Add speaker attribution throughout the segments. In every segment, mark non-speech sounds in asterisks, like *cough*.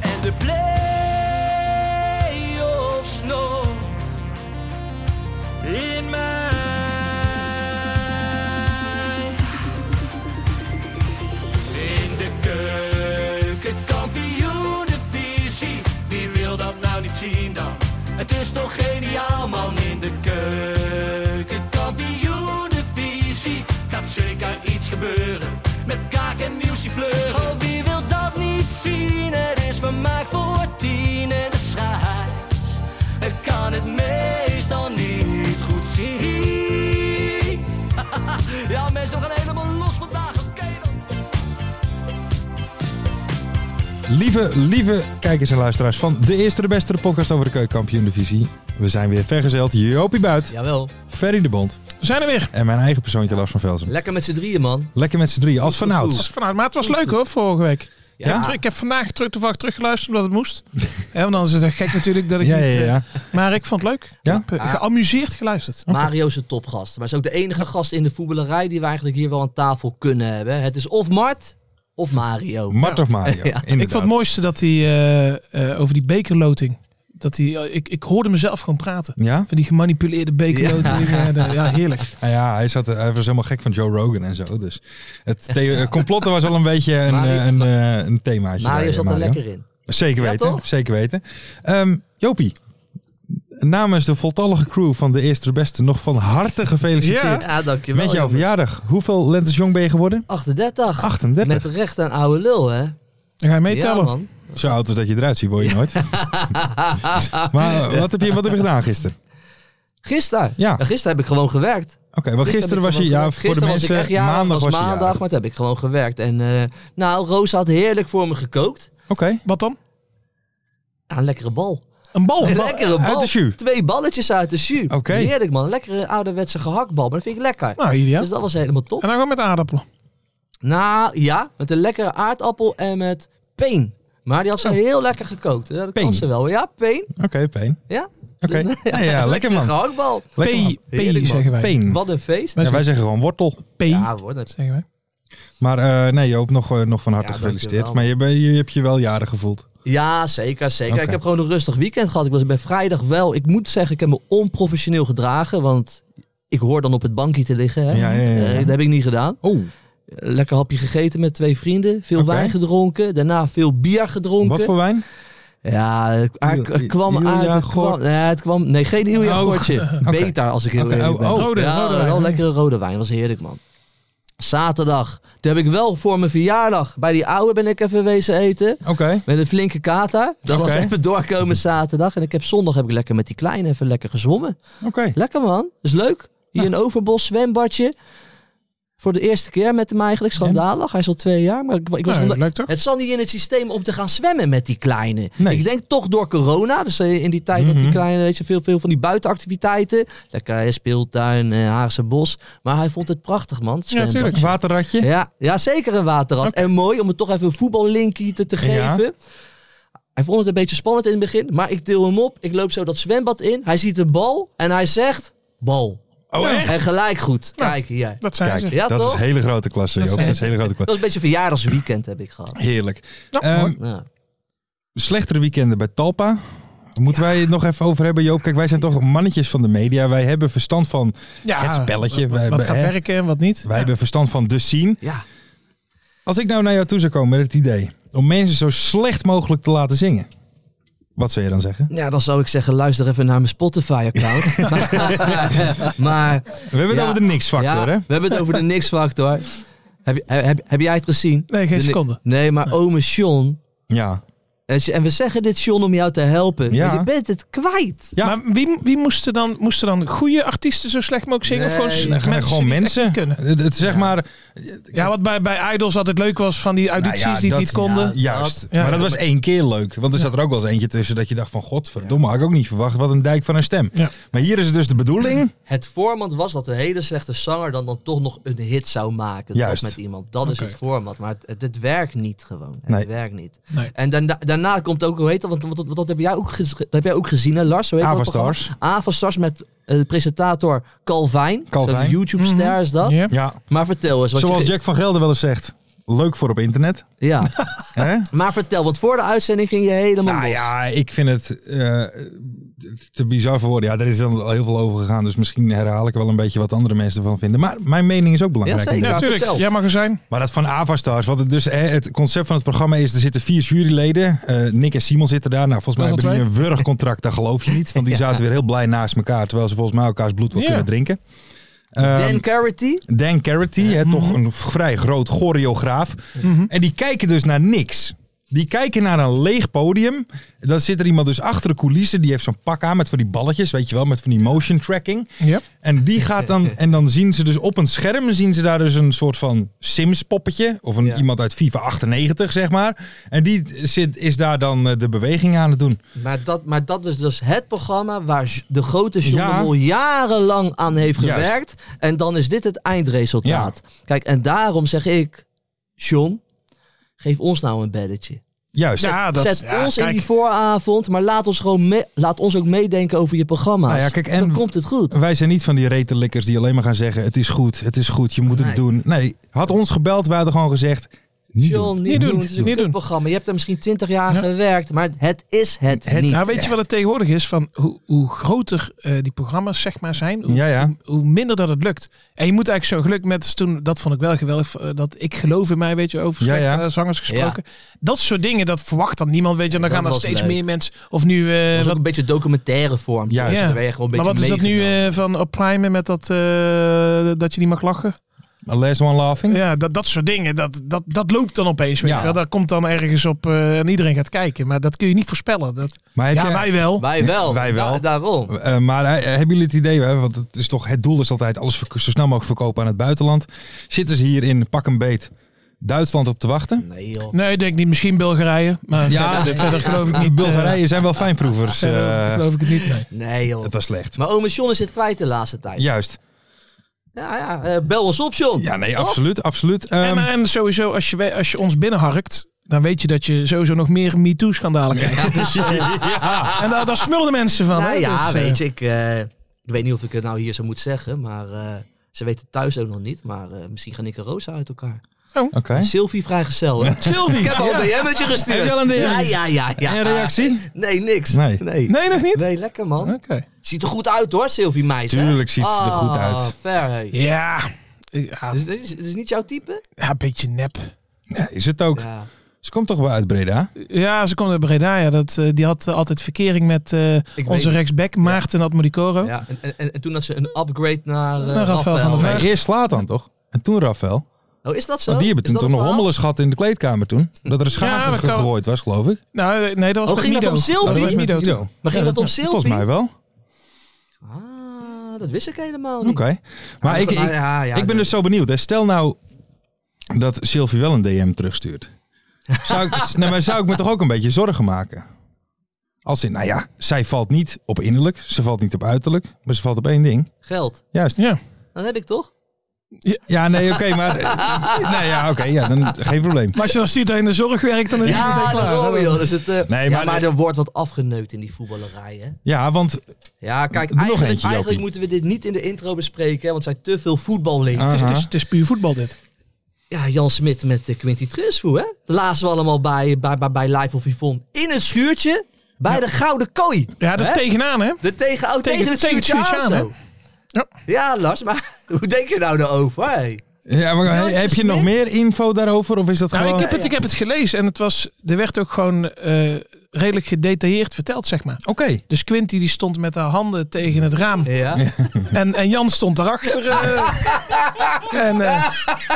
Speaker 1: En de play-offs nog
Speaker 2: In mij.
Speaker 1: in de keuken, kampioenenvisie. Wie wil dat nou niet zien dan? Het is toch geniaal man in de keuken, kampioenenvisie. Gaat zeker iets gebeuren met kaak en muziek fleuren. Oh, wie wil dat niet zien? Het is vermaakt voor tien en de scheids. Ik kan het meestal niet goed zien. *laughs* Ja, mensen, we gaan helemaal los vandaag. Oké dan.
Speaker 3: Lieve, lieve kijkers en luisteraars van de eerste, de beste de podcast over de keukenkampioen divisie. We zijn weer vergezeld. Jopie Buit,
Speaker 4: Jawel.
Speaker 3: Ferry de Bond. We zijn er weer. En mijn eigen persoontje Lars van Velsen.
Speaker 4: Lekker met z'n drieën, man.
Speaker 3: Lekker met z'n drieën, als vanouds.
Speaker 5: Vanuit, maar het was leuk hoor, vorige week.
Speaker 4: Ja.
Speaker 5: Ik, heb terug- ik heb vandaag terug, toevallig teruggeluisterd omdat het *laughs* moest. Hè, want dan is het echt gek natuurlijk dat ik
Speaker 3: Ja, ja,
Speaker 5: niet...
Speaker 3: ja.
Speaker 5: eh,
Speaker 3: ja.
Speaker 5: Maar ik vond het leuk.
Speaker 3: Ja?
Speaker 5: Ik heb eh, geamuseerd geluisterd.
Speaker 4: Mario is een topgast. Maar is ook de enige gast in de voetballerij die we eigenlijk hier wel aan tafel kunnen hebben. Het is of Mart of Mario.
Speaker 3: Mart of
Speaker 5: *laughs*
Speaker 3: Mario.
Speaker 4: Ja.
Speaker 5: eh, Ik vond het mooiste dat hij eh, eh, over die bekerloting... Dat hij, eh, ik, ik hoorde mezelf gewoon praten.
Speaker 3: Ja?
Speaker 5: Van die gemanipuleerde bekerloting. eh, de- Ja, heerlijk.
Speaker 3: Nou ja, hij, zat, eh, hij was helemaal gek van Joe Rogan en zo. Dus het the- eh, complotten was al een beetje een,
Speaker 4: Mario-
Speaker 3: eh, een, eh, een themaatje.
Speaker 4: Mario
Speaker 3: bij,
Speaker 4: zat
Speaker 3: eh,
Speaker 4: er lekker in.
Speaker 3: Zeker
Speaker 4: Ja,
Speaker 3: weten,
Speaker 4: toch?
Speaker 3: zeker weten. Ehm, Jopie, namens de voltallige crew van de eerste, de beste nog van harte gefeliciteerd.
Speaker 5: Ja.
Speaker 4: Ja, dankjewel.
Speaker 3: Met jouw
Speaker 4: jongens.
Speaker 3: verjaardag. Hoeveel lentes jong ben je geworden?
Speaker 4: 38.
Speaker 3: 38.
Speaker 4: Met recht aan oude lul, hè?
Speaker 5: Dan ga je
Speaker 4: ja,
Speaker 5: meetellen.
Speaker 4: man.
Speaker 3: Zo oud als dat je eruit ziet, word je nooit. maar eh, wat heb, je, wat heb je gedaan gisteren?
Speaker 4: *laughs* Gisteren.
Speaker 3: Ja.
Speaker 4: Gisteren heb ik gewoon gewerkt.
Speaker 3: Oké, wel gisteren
Speaker 4: heb ik
Speaker 3: was je,
Speaker 4: gewoon
Speaker 3: ja,
Speaker 4: gewerkt.
Speaker 3: voor de
Speaker 4: Gisteren was ik
Speaker 3: mensen,
Speaker 4: echt jarig,
Speaker 3: maandag was
Speaker 4: was
Speaker 3: je
Speaker 4: maandag,
Speaker 3: jarig.
Speaker 4: maar toen heb ik gewoon gewerkt. En eh, nou, Roos had heerlijk voor me gekookt.
Speaker 3: Oké,
Speaker 5: Wat dan?
Speaker 4: Ja, een lekkere bal.
Speaker 5: Een
Speaker 4: *laughs*
Speaker 5: bal.
Speaker 4: Een lekkere bal.
Speaker 3: Oh, uit de jus.
Speaker 4: Twee balletjes uit de jus.
Speaker 3: Oké.
Speaker 4: Heerlijk man. Lekkere ouderwetse gehaktbal. Maar dat vind ik lekker.
Speaker 5: Nou, ideaal.
Speaker 4: Dus dat was helemaal top.
Speaker 5: En dan gewoon met aardappelen.
Speaker 4: Nou ja, met een lekkere aardappel en met peen. Maar die had ze
Speaker 3: Oh.
Speaker 4: heel lekker gekookt. Ja, Dat
Speaker 3: Peen.
Speaker 4: kan ze wel. Ja, peen.
Speaker 3: oké, pijn.
Speaker 4: Ja. *laughs*
Speaker 3: Oké, ja, ja, lekker man.
Speaker 4: Gehaktbal.
Speaker 3: Lekker man.
Speaker 5: P, P
Speaker 4: Heerlijk, man.
Speaker 5: zeggen wij.
Speaker 3: Peen.
Speaker 4: Wat een feest.
Speaker 3: Ja, wij zeggen gewoon wortel.
Speaker 5: P,
Speaker 4: Ja, hoor. Dat...
Speaker 5: zeggen wij.
Speaker 3: Maar eh, nee Joop, nog, eh, nog van harte
Speaker 4: Ja,
Speaker 3: gefeliciteerd.
Speaker 4: dankjewel,
Speaker 3: maar je, ben- je hebt je wel jaren gevoeld.
Speaker 4: ja zeker, zeker.
Speaker 3: Oké.
Speaker 4: Ik heb gewoon een rustig weekend gehad. Ik was bij vrijdag wel. Ik moet zeggen, ik heb me onprofessioneel gedragen. Want ik hoor dan op het bankje te liggen. Hè.
Speaker 3: Ja, ja, ja, ja.
Speaker 4: Eh, dat heb ik niet gedaan.
Speaker 3: Oh,
Speaker 4: Lekker hapje gegeten met twee vrienden. Veel
Speaker 3: Oké.
Speaker 4: wijn gedronken. Daarna veel bier gedronken.
Speaker 3: wat voor wijn?
Speaker 4: Ja, het
Speaker 3: Il-
Speaker 4: er- er kwam
Speaker 3: Ilja
Speaker 4: uit. Het kwam,
Speaker 3: Gort.
Speaker 4: nee, het kwam, nee, geen Ilja
Speaker 3: Oh,
Speaker 4: Gortje.
Speaker 3: *laughs* oké.
Speaker 4: Beter als ik heel
Speaker 3: Oké,
Speaker 4: eerlijk
Speaker 3: oh,
Speaker 4: ben.
Speaker 3: oh, rode-
Speaker 4: ja,
Speaker 3: rode
Speaker 4: wel
Speaker 3: wijn.
Speaker 4: lekkere rode wijn. was heerlijk, man. Zaterdag. Toen heb ik wel voor mijn verjaardag bij die oude ben ik even wezen eten.
Speaker 3: Oké,
Speaker 4: Met een flinke kater. Dat
Speaker 3: Oké.
Speaker 4: was even doorkomen zaterdag. En ik heb zondag heb ik lekker met die kleine even lekker gezwommen.
Speaker 3: oké.
Speaker 4: Lekker man. Is leuk. Hier in Overbos zwembadje. Voor de eerste keer met hem eigenlijk. Schandalig. Hij is al twee jaar. Maar ik, ik was
Speaker 5: Nou,
Speaker 4: onder-
Speaker 5: leuk toch?
Speaker 4: het zat niet in het systeem om te gaan zwemmen met die kleine.
Speaker 3: Nee.
Speaker 4: Ik denk toch door corona. Dus eh, in die tijd dat die
Speaker 3: Mhm.
Speaker 4: kleine, weet je, veel, veel van die buitenactiviteiten. Lekker eh, speeltuin, eh, Haagse bos. Maar hij vond het prachtig, man. het
Speaker 5: Ja, tuurlijk.
Speaker 4: zwembadje.
Speaker 3: Waterratje.
Speaker 4: Ja, ja, zeker een waterrad. En mooi om het toch even een voetballinkie te, te
Speaker 3: Ja.
Speaker 4: geven. Hij vond het een beetje spannend in het begin. Maar ik deel hem op. Ik loop zo dat zwembad in. Hij ziet de bal. En hij zegt, bal.
Speaker 3: Oh, echt?
Speaker 4: En gelijk goed.
Speaker 5: Nou.
Speaker 4: Kijk hier.
Speaker 5: Dat zijn
Speaker 3: Kijk,
Speaker 5: ze.
Speaker 4: Ja,
Speaker 3: dat
Speaker 4: toch?
Speaker 3: is hele grote klasse,
Speaker 5: Dat
Speaker 3: Joop. Dat
Speaker 5: zijn
Speaker 3: is hele grote
Speaker 4: Dat
Speaker 3: klasse.
Speaker 4: was een beetje verjaardagsweekend heb ik gehad.
Speaker 3: Heerlijk.
Speaker 5: Ja,
Speaker 3: Ehm,
Speaker 5: mooi.
Speaker 4: Ja.
Speaker 3: slechtere weekenden bij Talpa. Moeten wij het nog even over hebben, Joop? Kijk, wij zijn toch mannetjes van de media. Wij hebben verstand van,
Speaker 5: Ja,
Speaker 3: het spelletje,
Speaker 5: Wat,
Speaker 3: wij-
Speaker 5: wat gaat
Speaker 3: hè?
Speaker 5: werken en wat niet.
Speaker 3: wij hebben verstand van de scene.
Speaker 4: ja.
Speaker 3: Als ik nou naar jou toe zou komen met het idee. om mensen zo slecht mogelijk te laten zingen. Wat zou je dan zeggen?
Speaker 4: Ja, dan zou ik zeggen, luister even naar mijn Spotify-account. maar
Speaker 3: We hebben
Speaker 4: Ja.
Speaker 3: het over de niks
Speaker 4: ja,
Speaker 3: factor, hè?
Speaker 4: we hebben het over de niks-factor. Heb, je- heb, heb jij het gezien?
Speaker 5: Nee, geen
Speaker 4: De ni-
Speaker 5: seconde.
Speaker 4: Nee, maar ome Sean.
Speaker 3: Ja.
Speaker 4: En ze- Eh, en we zeggen dit, Sean, om jou te helpen.
Speaker 3: Ja.
Speaker 4: Maar je bent het kwijt.
Speaker 3: Ja.
Speaker 5: Maar wie, wie moesten dan, moesten dan goede artiesten zo slecht mogelijk zingen? of
Speaker 4: Nee,
Speaker 5: gewoon,
Speaker 3: Dan gaan er gewoon
Speaker 5: die het echt
Speaker 3: mensen.
Speaker 5: niet kunnen?
Speaker 3: Het, het- zeg maar,
Speaker 5: Ja, wat bij, bij Idols altijd leuk was van die audities
Speaker 3: Nou ja,
Speaker 5: die
Speaker 3: dat-
Speaker 5: het niet konden.
Speaker 3: ja, juist.
Speaker 5: Ja,
Speaker 3: maar dat
Speaker 5: ja.
Speaker 3: was één keer leuk. Want er zat er ook wel eens eentje tussen dat je dacht van... Godverdomme, had ik ook niet verwacht. Wat een dijk van een stem.
Speaker 5: Ja.
Speaker 3: Maar hier is het dus de bedoeling.
Speaker 4: Het format was dat de hele slechte zanger dan, dan toch nog een hit zou maken.
Speaker 3: Juist.
Speaker 4: Toch met iemand. Dat is
Speaker 5: Oké.
Speaker 4: het format. Maar het, het, het werkt niet gewoon. Het
Speaker 3: Nee.
Speaker 4: werkt niet.
Speaker 5: Nee.
Speaker 4: En daarna, daarna komt ook, hoe heet dat? Want, want, want dat, heb jij ook gez- dat heb jij ook gezien, hè, Lars? Hoe heet dat programma?
Speaker 3: Avastars.
Speaker 4: Avastars met eh, de presentator Calvin.
Speaker 3: Calvin.
Speaker 4: Zo'n YouTube-ster is dat.
Speaker 5: Mhm. Ja.
Speaker 3: Mhm. Ja.
Speaker 4: Maar vertel eens. Wat
Speaker 3: Zoals
Speaker 4: je,
Speaker 3: Jack van Gelder wel eens zegt. Leuk voor op internet.
Speaker 4: Ja.
Speaker 3: Hè?
Speaker 4: maar vertel, want voor de uitzending ging je helemaal
Speaker 3: Nou
Speaker 4: los.
Speaker 3: ja, ik vind het eh, te bizar voor woorden. Ja, daar is dan al heel veel over gegaan. Dus misschien herhaal ik wel een beetje wat andere mensen ervan vinden. Maar mijn mening is ook belangrijk.
Speaker 4: Ja, zeker.
Speaker 5: Ja,
Speaker 4: Ja,
Speaker 5: natuurlijk.
Speaker 4: vertel.
Speaker 5: Jij mag er zijn.
Speaker 3: Maar dat van Avastars, wat het dus hè, het concept van het programma is, er zitten vier juryleden. Eh, Nick en Simon zitten daar. Nou, volgens mij
Speaker 5: Dat
Speaker 3: hebben
Speaker 5: is
Speaker 3: die een wurgcontract, dat geloof je niet. Want
Speaker 5: *laughs*
Speaker 3: die zaten weer heel blij naast elkaar, terwijl ze volgens mij elkaars bloed wel
Speaker 5: Ja.
Speaker 3: kunnen drinken. Ehm,
Speaker 4: Dan Carity.
Speaker 3: Dan Carity, hè, toch
Speaker 5: Mhm.
Speaker 3: een vrij groot choreograaf. En die kijken dus naar niks. Die kijken naar een leeg podium. Dan zit er iemand dus achter de coulissen. Die heeft zo'n pak aan met van die balletjes, weet je wel. Met van die motion tracking.
Speaker 5: Ja.
Speaker 3: En die gaat dan, en dan zien ze dus op een scherm, zien ze daar dus een soort van Sims-poppetje. Of een,
Speaker 4: Ja.
Speaker 3: iemand uit FIFA 98, zeg maar. En die zit, is daar dan eh, de beweging aan het doen.
Speaker 4: Maar dat, maar dat was dus het programma waar J- de grote John
Speaker 3: Ja.
Speaker 4: de Mol jarenlang aan heeft
Speaker 3: Juist.
Speaker 4: gewerkt. En dan is dit het eindresultaat. Kijk, en daarom zeg ik, John, geef ons nou een belletje.
Speaker 3: Juist.
Speaker 5: Ja, dat,
Speaker 4: Zet
Speaker 5: ja,
Speaker 4: ons
Speaker 5: kijk,
Speaker 4: in die vooravond, maar laat ons, gewoon me- laat ons ook meedenken over je programma's.
Speaker 3: Nou ja, kijk, en-
Speaker 4: Dan komt het goed.
Speaker 3: Wij zijn niet van die retelikkers die alleen maar gaan zeggen: het is goed, het is goed, je moet het
Speaker 4: Nee.
Speaker 3: doen. Nee, had ons gebeld, wij hadden gewoon gezegd: niet doen.
Speaker 4: John, niet,
Speaker 5: Niet doen,
Speaker 4: doen. Het is een
Speaker 5: niet doen.
Speaker 4: programma. Je hebt er misschien twintig jaar
Speaker 5: Ja.
Speaker 4: gewerkt, maar het is het,
Speaker 3: Het-
Speaker 4: niet.
Speaker 5: Nou, weet je wat het tegenwoordig is? Van hoe, hoe groter eh, die programma's zeg maar zijn, hoe,
Speaker 3: Ja, ja.
Speaker 5: hoe minder dat het lukt. En je moet eigenlijk zo geluk met toen, dat vond ik wel geweldig, eh, dat ik geloof in mij, weet je, over
Speaker 3: Ja,
Speaker 5: slechte
Speaker 3: ja.
Speaker 5: eh, zangers gesproken. Dat soort dingen, dat verwacht dan niemand, weet je. En dan
Speaker 4: Dat
Speaker 5: gaan er
Speaker 4: was
Speaker 5: steeds
Speaker 4: leuk.
Speaker 5: meer mensen. Of nu, eh,
Speaker 4: Dat is ook
Speaker 5: wat,
Speaker 4: een beetje documentaire vorm.
Speaker 3: Ja,
Speaker 4: Dus
Speaker 5: ja.
Speaker 4: dan ben je gewoon een
Speaker 5: maar wat
Speaker 4: beetje
Speaker 5: is dat nu
Speaker 4: meegenomen.
Speaker 5: eh, van op Prime met dat, eh, dat je niet mag lachen?
Speaker 3: A last one laughing.
Speaker 5: Ja, dat, dat soort dingen, dat, dat, dat loopt dan opeens. Weet
Speaker 3: Ja.
Speaker 5: je wel. Dat komt dan ergens op eh, en iedereen gaat kijken. Maar dat kun je niet voorspellen. Dat,
Speaker 3: Maar, heb
Speaker 5: ja,
Speaker 3: jij-
Speaker 5: eh? wij wel.
Speaker 4: Wij wel.
Speaker 3: Wij wel.
Speaker 4: Da- daarom.
Speaker 3: Eh, maar eh, hebben jullie het idee, hè, want het, is toch, het doel is altijd alles verk- zo snel mogelijk verkopen aan het buitenland. Zitten ze hier in pak een beet Duitsland op te wachten?
Speaker 4: Nee joh.
Speaker 5: Nee, ik denk niet. Misschien Bulgarije. Maar
Speaker 3: Ja,
Speaker 5: verder, verder geloof ik niet.
Speaker 3: Bulgarije zijn wel fijnproevers.
Speaker 5: eh, verder
Speaker 3: eh,
Speaker 5: geloof ik het niet. Nee.
Speaker 4: Nee joh.
Speaker 3: het was slecht.
Speaker 4: Maar ome John is het kwijt de laatste tijd. Ja,
Speaker 3: Juist.
Speaker 4: ja. eh, bel ons op, John.
Speaker 3: Ja, nee,
Speaker 4: Toch?
Speaker 3: absoluut. absoluut.
Speaker 5: en,
Speaker 3: Ehm,
Speaker 5: Oh. maar- en sowieso, als je, we- als je ons binnenharkt, dan weet je dat je sowieso nog meer MeToo-schandalen krijgt. Dus, eh,
Speaker 4: *laughs*
Speaker 5: En daar, daar smullen de mensen van.
Speaker 4: Nou
Speaker 5: hè?
Speaker 4: ja,
Speaker 5: Dus, eh,
Speaker 4: weet je, ik, eh, ik weet niet of ik het nou hier zo moet zeggen, maar eh, ze weten het thuis ook nog niet. Maar eh, misschien gaan ik en Rosa uit elkaar.
Speaker 3: Oké.
Speaker 4: Sylvie vrijgezel, hè?
Speaker 5: Sylvie.
Speaker 4: Ik heb al
Speaker 5: ja.
Speaker 4: een DM'tje gestuurd.
Speaker 3: Heb je al een DM?
Speaker 4: Ja, ja, ja. ja.
Speaker 3: En reactie?
Speaker 4: Nee, niks.
Speaker 3: Nee.
Speaker 4: Nee,
Speaker 5: Nee, nog niet?
Speaker 4: Nee, lekker man.
Speaker 5: Oké.
Speaker 4: Ziet er goed uit hoor, Sylvie meisje.
Speaker 3: Tuurlijk ziet ze er goed uit.
Speaker 4: Ah, fair, hey.
Speaker 5: Ja. Ja,
Speaker 4: Dus dit is, dit is niet jouw type?
Speaker 5: ja, een beetje nep.
Speaker 3: Ja, is het ook.
Speaker 4: Ja.
Speaker 3: Ze komt toch wel uit Breda?
Speaker 5: Ja, ze komt uit Breda. Ja, dat, eh, die had eh, altijd verkering met eh,
Speaker 4: weet
Speaker 5: onze
Speaker 4: het.
Speaker 5: rechtsback Maarten Admodicoro.
Speaker 4: ja. En, en- en, en toen had ze een upgrade naar eh
Speaker 5: Rafael van
Speaker 4: Rafael.
Speaker 5: der Vaart.
Speaker 3: Nee, eerst slaat dan toch? En toen Rafael.
Speaker 4: Oh, is dat zo?
Speaker 3: Want die hebben
Speaker 4: Is
Speaker 3: toen
Speaker 4: dat het
Speaker 3: toch nog
Speaker 4: verhaal?
Speaker 3: hommeles gehad in de kleedkamer toen. Dat er een schaar
Speaker 5: Ja, dat kan-
Speaker 3: gegooid was, geloof ik.
Speaker 5: Nou, eh, nee, dat was
Speaker 4: Oh,
Speaker 5: met
Speaker 4: ging dat
Speaker 5: Mido.
Speaker 4: om Sylvie?
Speaker 5: Dat was
Speaker 3: met
Speaker 5: Mido.
Speaker 3: Guido.
Speaker 5: toen.
Speaker 4: Maar ging dat om Sylvie?
Speaker 3: Volgens mij wel. Oké.
Speaker 4: Ah, dat wist ik helemaal niet.
Speaker 3: Maar ik, ik,
Speaker 4: ja, ja,
Speaker 3: ik ben
Speaker 4: dat-
Speaker 3: dus zo benieuwd. Hè. Stel nou dat Sylvie wel een DM terugstuurt.
Speaker 4: *laughs*
Speaker 3: Zou ik, nee, maar zou ik me toch ook een beetje zorgen maken? Als in, nou ja, zij valt niet op innerlijk. Ze valt niet op uiterlijk. Maar ze valt op één ding.
Speaker 4: Geld.
Speaker 3: Juist.
Speaker 5: Ja.
Speaker 4: Dan heb ik toch?
Speaker 3: Ja, nee, oké, maar... *laughs* eh, Nou ja, oké, ja, dan geen probleem.
Speaker 5: Maar als je dan ziet dat je in de zorg werkt, dan is het meteen klaar.
Speaker 4: daarom, joh. Dus het, eh,
Speaker 3: Nee,
Speaker 4: ja,
Speaker 3: maar-
Speaker 4: maar er wordt wat afgeneukt in die voetballerij, hè?
Speaker 3: Ja, want...
Speaker 4: Ja, kijk,
Speaker 3: Doe nog
Speaker 4: eigenlijk,
Speaker 3: eentje,
Speaker 4: eigenlijk
Speaker 3: Jopie.
Speaker 4: moeten we dit niet in de intro bespreken, hè, want er zijn te veel voetballinken.
Speaker 3: Ah.
Speaker 5: Het is, het, is, het is puur voetbal dit.
Speaker 4: Ja, Jan Smit met eh, Quinty Trusvoe, hè? Laatst we allemaal bij, bij, bij, bij Live of Yvonne in een schuurtje bij de Gouden Kooi.
Speaker 5: Ja, dat
Speaker 4: Hè?
Speaker 5: tegenaan hè.
Speaker 4: De tegen, oh, tegen,
Speaker 5: Tegen-
Speaker 4: het
Speaker 5: tegen het
Speaker 4: schuurtje
Speaker 5: schuurtje
Speaker 4: aan,
Speaker 5: aan,
Speaker 4: zo.
Speaker 5: hè?
Speaker 4: *laughs* Ja, Lars, maar hoe denk je nou daarover? Hey?
Speaker 3: Ja, maar he- heb je nog meer info daarover? Of is dat
Speaker 5: Nou,
Speaker 3: gewoon...
Speaker 5: ik, heb het, ik heb het gelezen en het was, er werd ook gewoon eh, redelijk gedetailleerd verteld, zeg maar.
Speaker 3: Oké.
Speaker 5: Dus Quinty die stond met haar handen tegen het raam.
Speaker 4: Ja.
Speaker 5: En, en Jan stond daarachter. eh. en, eh,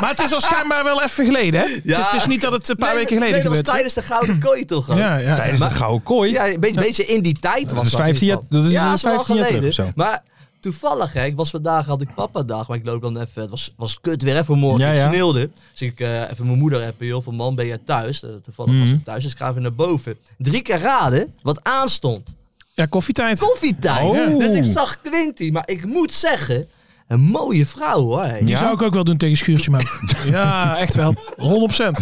Speaker 5: maar het is al schijnbaar wel even geleden, hè? Dus Het-
Speaker 4: Ja.
Speaker 5: Het is niet dat het een paar weken geleden
Speaker 4: nee, dat was
Speaker 5: gebeurd
Speaker 4: tijdens de Gouden Kooi toch gewoon.
Speaker 5: Ja, ja.
Speaker 3: Tijdens de
Speaker 4: Maar-
Speaker 3: gouden kooi.
Speaker 4: Ja, een beetje, een beetje in die tijd was
Speaker 3: is
Speaker 4: dat.
Speaker 3: vijftien jaar-
Speaker 4: in ieder geval.
Speaker 3: dat is
Speaker 4: ja,
Speaker 3: dus
Speaker 4: is wel
Speaker 3: 15 jaar terug of zo.
Speaker 4: Maar toevallig, hè, ik was vandaag, had ik papa dag, maar ik loop dan even, het was, was kut weer even morgen,
Speaker 3: Ja,
Speaker 4: het
Speaker 3: ja.
Speaker 4: sneeuwde. Dus ik eh, even mijn moeder appen, joh, van man, ben je thuis? Eh, toevallig was
Speaker 3: Mhm.
Speaker 4: ik thuis, dus ik ga even naar boven. Drie keer raden, wat aanstond.
Speaker 5: Ja, koffietijd.
Speaker 4: Koffietijd.
Speaker 3: Oh.
Speaker 4: Dus ik zag Quinty, maar ik moet zeggen, een mooie vrouw hoor. hè.
Speaker 5: Die zou ik ook wel doen tegen Schuurtje Mouk. Ja, echt wel. 100%.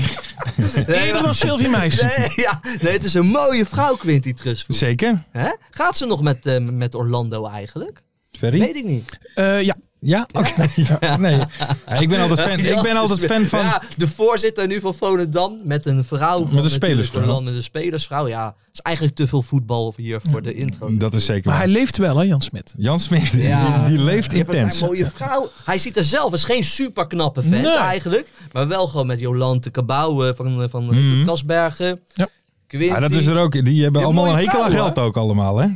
Speaker 4: Nee,
Speaker 5: Eerder
Speaker 4: maar-
Speaker 5: dan Sylvie
Speaker 4: *laughs*
Speaker 5: Meis.
Speaker 4: Nee, ja, nee, het is een mooie vrouw, Quinty Trustvoet.
Speaker 3: Zeker.
Speaker 4: Hè? Gaat ze nog met, eh, met Orlando eigenlijk?
Speaker 3: Ferry?
Speaker 4: Weet ik niet.
Speaker 5: Eh, ja,
Speaker 3: Ja? Oké. *laughs* Ja, nee. Ja, ik ben altijd fan, ik ben altijd fan van...
Speaker 4: Ja, de voorzitter nu van Volendam met een vrouw. Van
Speaker 3: een
Speaker 4: natuurlijk
Speaker 3: spelersvrouw.
Speaker 4: Orlando, Met een spelersvrouw, ja. Het is eigenlijk te veel voetbal hier voor de intro.
Speaker 3: Mm, Dat is zeker
Speaker 5: maar hij
Speaker 3: waar.
Speaker 5: leeft wel, hè, Jan Smit.
Speaker 3: Jan Smit,
Speaker 4: Ja.
Speaker 3: die, die leeft
Speaker 4: Je hebt een
Speaker 3: intens.
Speaker 4: mooie vrouw. Hij ziet er zelf, is geen super knappe vent
Speaker 5: Nee.
Speaker 4: eigenlijk. Maar wel gewoon met Jolante Cabau eh, van, eh, van eh,
Speaker 3: Mhm.
Speaker 4: Kasbergen.
Speaker 5: Ja.
Speaker 4: Quinty.
Speaker 3: Ja, dat is er ook. Die hebben
Speaker 4: Ja,
Speaker 3: allemaal
Speaker 4: mooie
Speaker 3: een hekel aan
Speaker 4: vrouwen,
Speaker 3: geld ook allemaal, hè?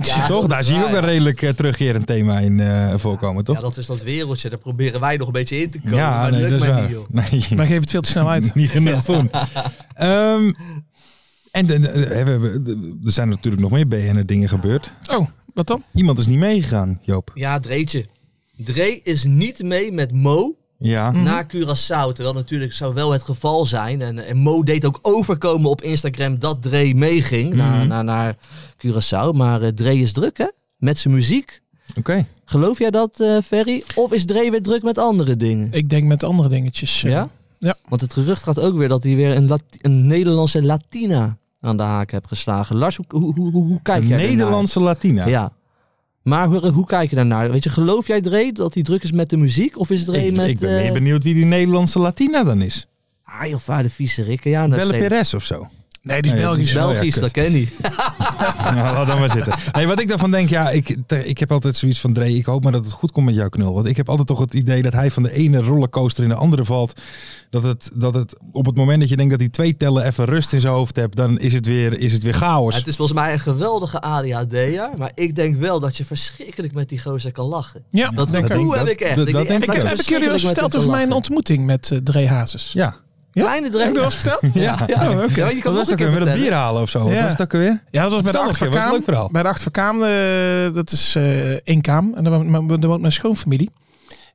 Speaker 4: Ja,
Speaker 3: *laughs* toch?
Speaker 4: dat
Speaker 3: Daar
Speaker 4: is
Speaker 3: zie je
Speaker 4: waar,
Speaker 3: ook een
Speaker 4: ja.
Speaker 3: redelijk eh, terugkerend thema in eh, voorkomen,
Speaker 4: Ja,
Speaker 3: toch?
Speaker 4: dat is dat wereldje. Daar proberen wij nog een beetje in te komen.
Speaker 3: Ja,
Speaker 4: maar dat lukt
Speaker 3: nee, dat is
Speaker 4: mij
Speaker 3: waar.
Speaker 4: niet, joh.
Speaker 3: *laughs* Nee,
Speaker 5: Maar geef het veel te snel
Speaker 3: *laughs*
Speaker 5: uit.
Speaker 3: niet genoeg doen. Ehm, en de- de- hè, we hebben- de- er zijn natuurlijk nog meer BN'er dingen gebeurd.
Speaker 5: Oh, wat dan?
Speaker 3: Iemand is niet meegegaan, Joop.
Speaker 4: Ja, Dreetje. Dree is niet mee met Mo
Speaker 3: Ja.
Speaker 4: naar Curaçao. Terwijl natuurlijk zou wel het geval zijn. En, en Mo deed ook overkomen op Instagram dat Dre meeging naar,
Speaker 3: Mhm.
Speaker 4: naar, naar Curaçao. Maar eh Dre is druk, hè? Met zijn muziek.
Speaker 3: Oké.
Speaker 4: Geloof jij dat, eh, Ferry? Of is Dre weer druk met andere dingen?
Speaker 5: Ik denk met andere dingetjes. eh,
Speaker 4: Ja?
Speaker 5: Ja.
Speaker 4: Want het gerucht gaat ook weer dat hij weer een, Lati- een Nederlandse Latina aan de haak heeft geslagen. Lars, hoe, hoe, hoe, hoe kijk
Speaker 3: Een
Speaker 4: jij daarnaar?
Speaker 3: Nederlandse Latina.
Speaker 4: Ja. Maar hoe, hoe kijk je daarnaar? Weet je, geloof jij Dre dat hij druk is met de muziek? Of is Dre
Speaker 3: Ik,
Speaker 4: met...
Speaker 3: ik ben
Speaker 4: eh,
Speaker 3: meer benieuwd wie die Nederlandse Latina dan is.
Speaker 4: Ah joh, vader, vieze rikken. Ja, dat
Speaker 3: Belle
Speaker 4: is
Speaker 3: Perez of zo.
Speaker 5: Nee, die is
Speaker 3: Nee,
Speaker 5: Belgisch.
Speaker 3: die is
Speaker 4: Belgisch,
Speaker 3: Oh ja,
Speaker 4: dat ken je.
Speaker 3: *laughs* nou, laat dan maar zitten. Nee, wat ik daarvan denk, ja, ik, te- ik heb altijd zoiets van Dre, ik hoop maar dat het goed komt met jouw knul. Want ik heb altijd toch het idee dat hij van de ene rollercoaster in de andere valt. Dat het, dat het op het moment dat je denkt dat hij twee tellen even rust in zijn hoofd hebt, dan is het weer, is het weer chaos.
Speaker 4: *laughs* Het is volgens mij een geweldige ADHD'er. Maar ik denk wel dat je verschrikkelijk met die gozer kan lachen.
Speaker 5: Ja,
Speaker 4: Dat
Speaker 5: denk ik.
Speaker 3: denk-
Speaker 4: gevoel heb
Speaker 3: dat-
Speaker 4: ik echt.
Speaker 3: dat- dat denk
Speaker 4: echt
Speaker 3: ik
Speaker 4: dat
Speaker 3: ook.
Speaker 4: je
Speaker 5: Heb ik jullie al
Speaker 4: verschrikkelijk met
Speaker 5: eens
Speaker 4: hem
Speaker 5: verteld
Speaker 4: kan
Speaker 5: over mijn
Speaker 4: lachen.
Speaker 5: ontmoeting met eh Dre Hazes?
Speaker 3: ja.
Speaker 4: Kleine
Speaker 5: Heb ik dat al
Speaker 4: Dre.
Speaker 5: eens verteld?
Speaker 3: Ja.
Speaker 4: Ja,
Speaker 5: Oh, oké.
Speaker 4: Ja, je kan
Speaker 3: Wat was
Speaker 4: nog
Speaker 3: het
Speaker 4: een keer
Speaker 3: ook weer? Met het bier
Speaker 4: vertellen.
Speaker 3: halen of zo? Wat
Speaker 5: Ja.
Speaker 3: was het ook weer?
Speaker 5: Ja, dat was bij de
Speaker 3: Vertel nog een keer, was een
Speaker 5: Achterkaam.
Speaker 3: leuk verhaal.
Speaker 5: Bij de Achterkaam, eh, dat is eh Inkaam. En daar woont, mijn- daar woont mijn schoonfamilie.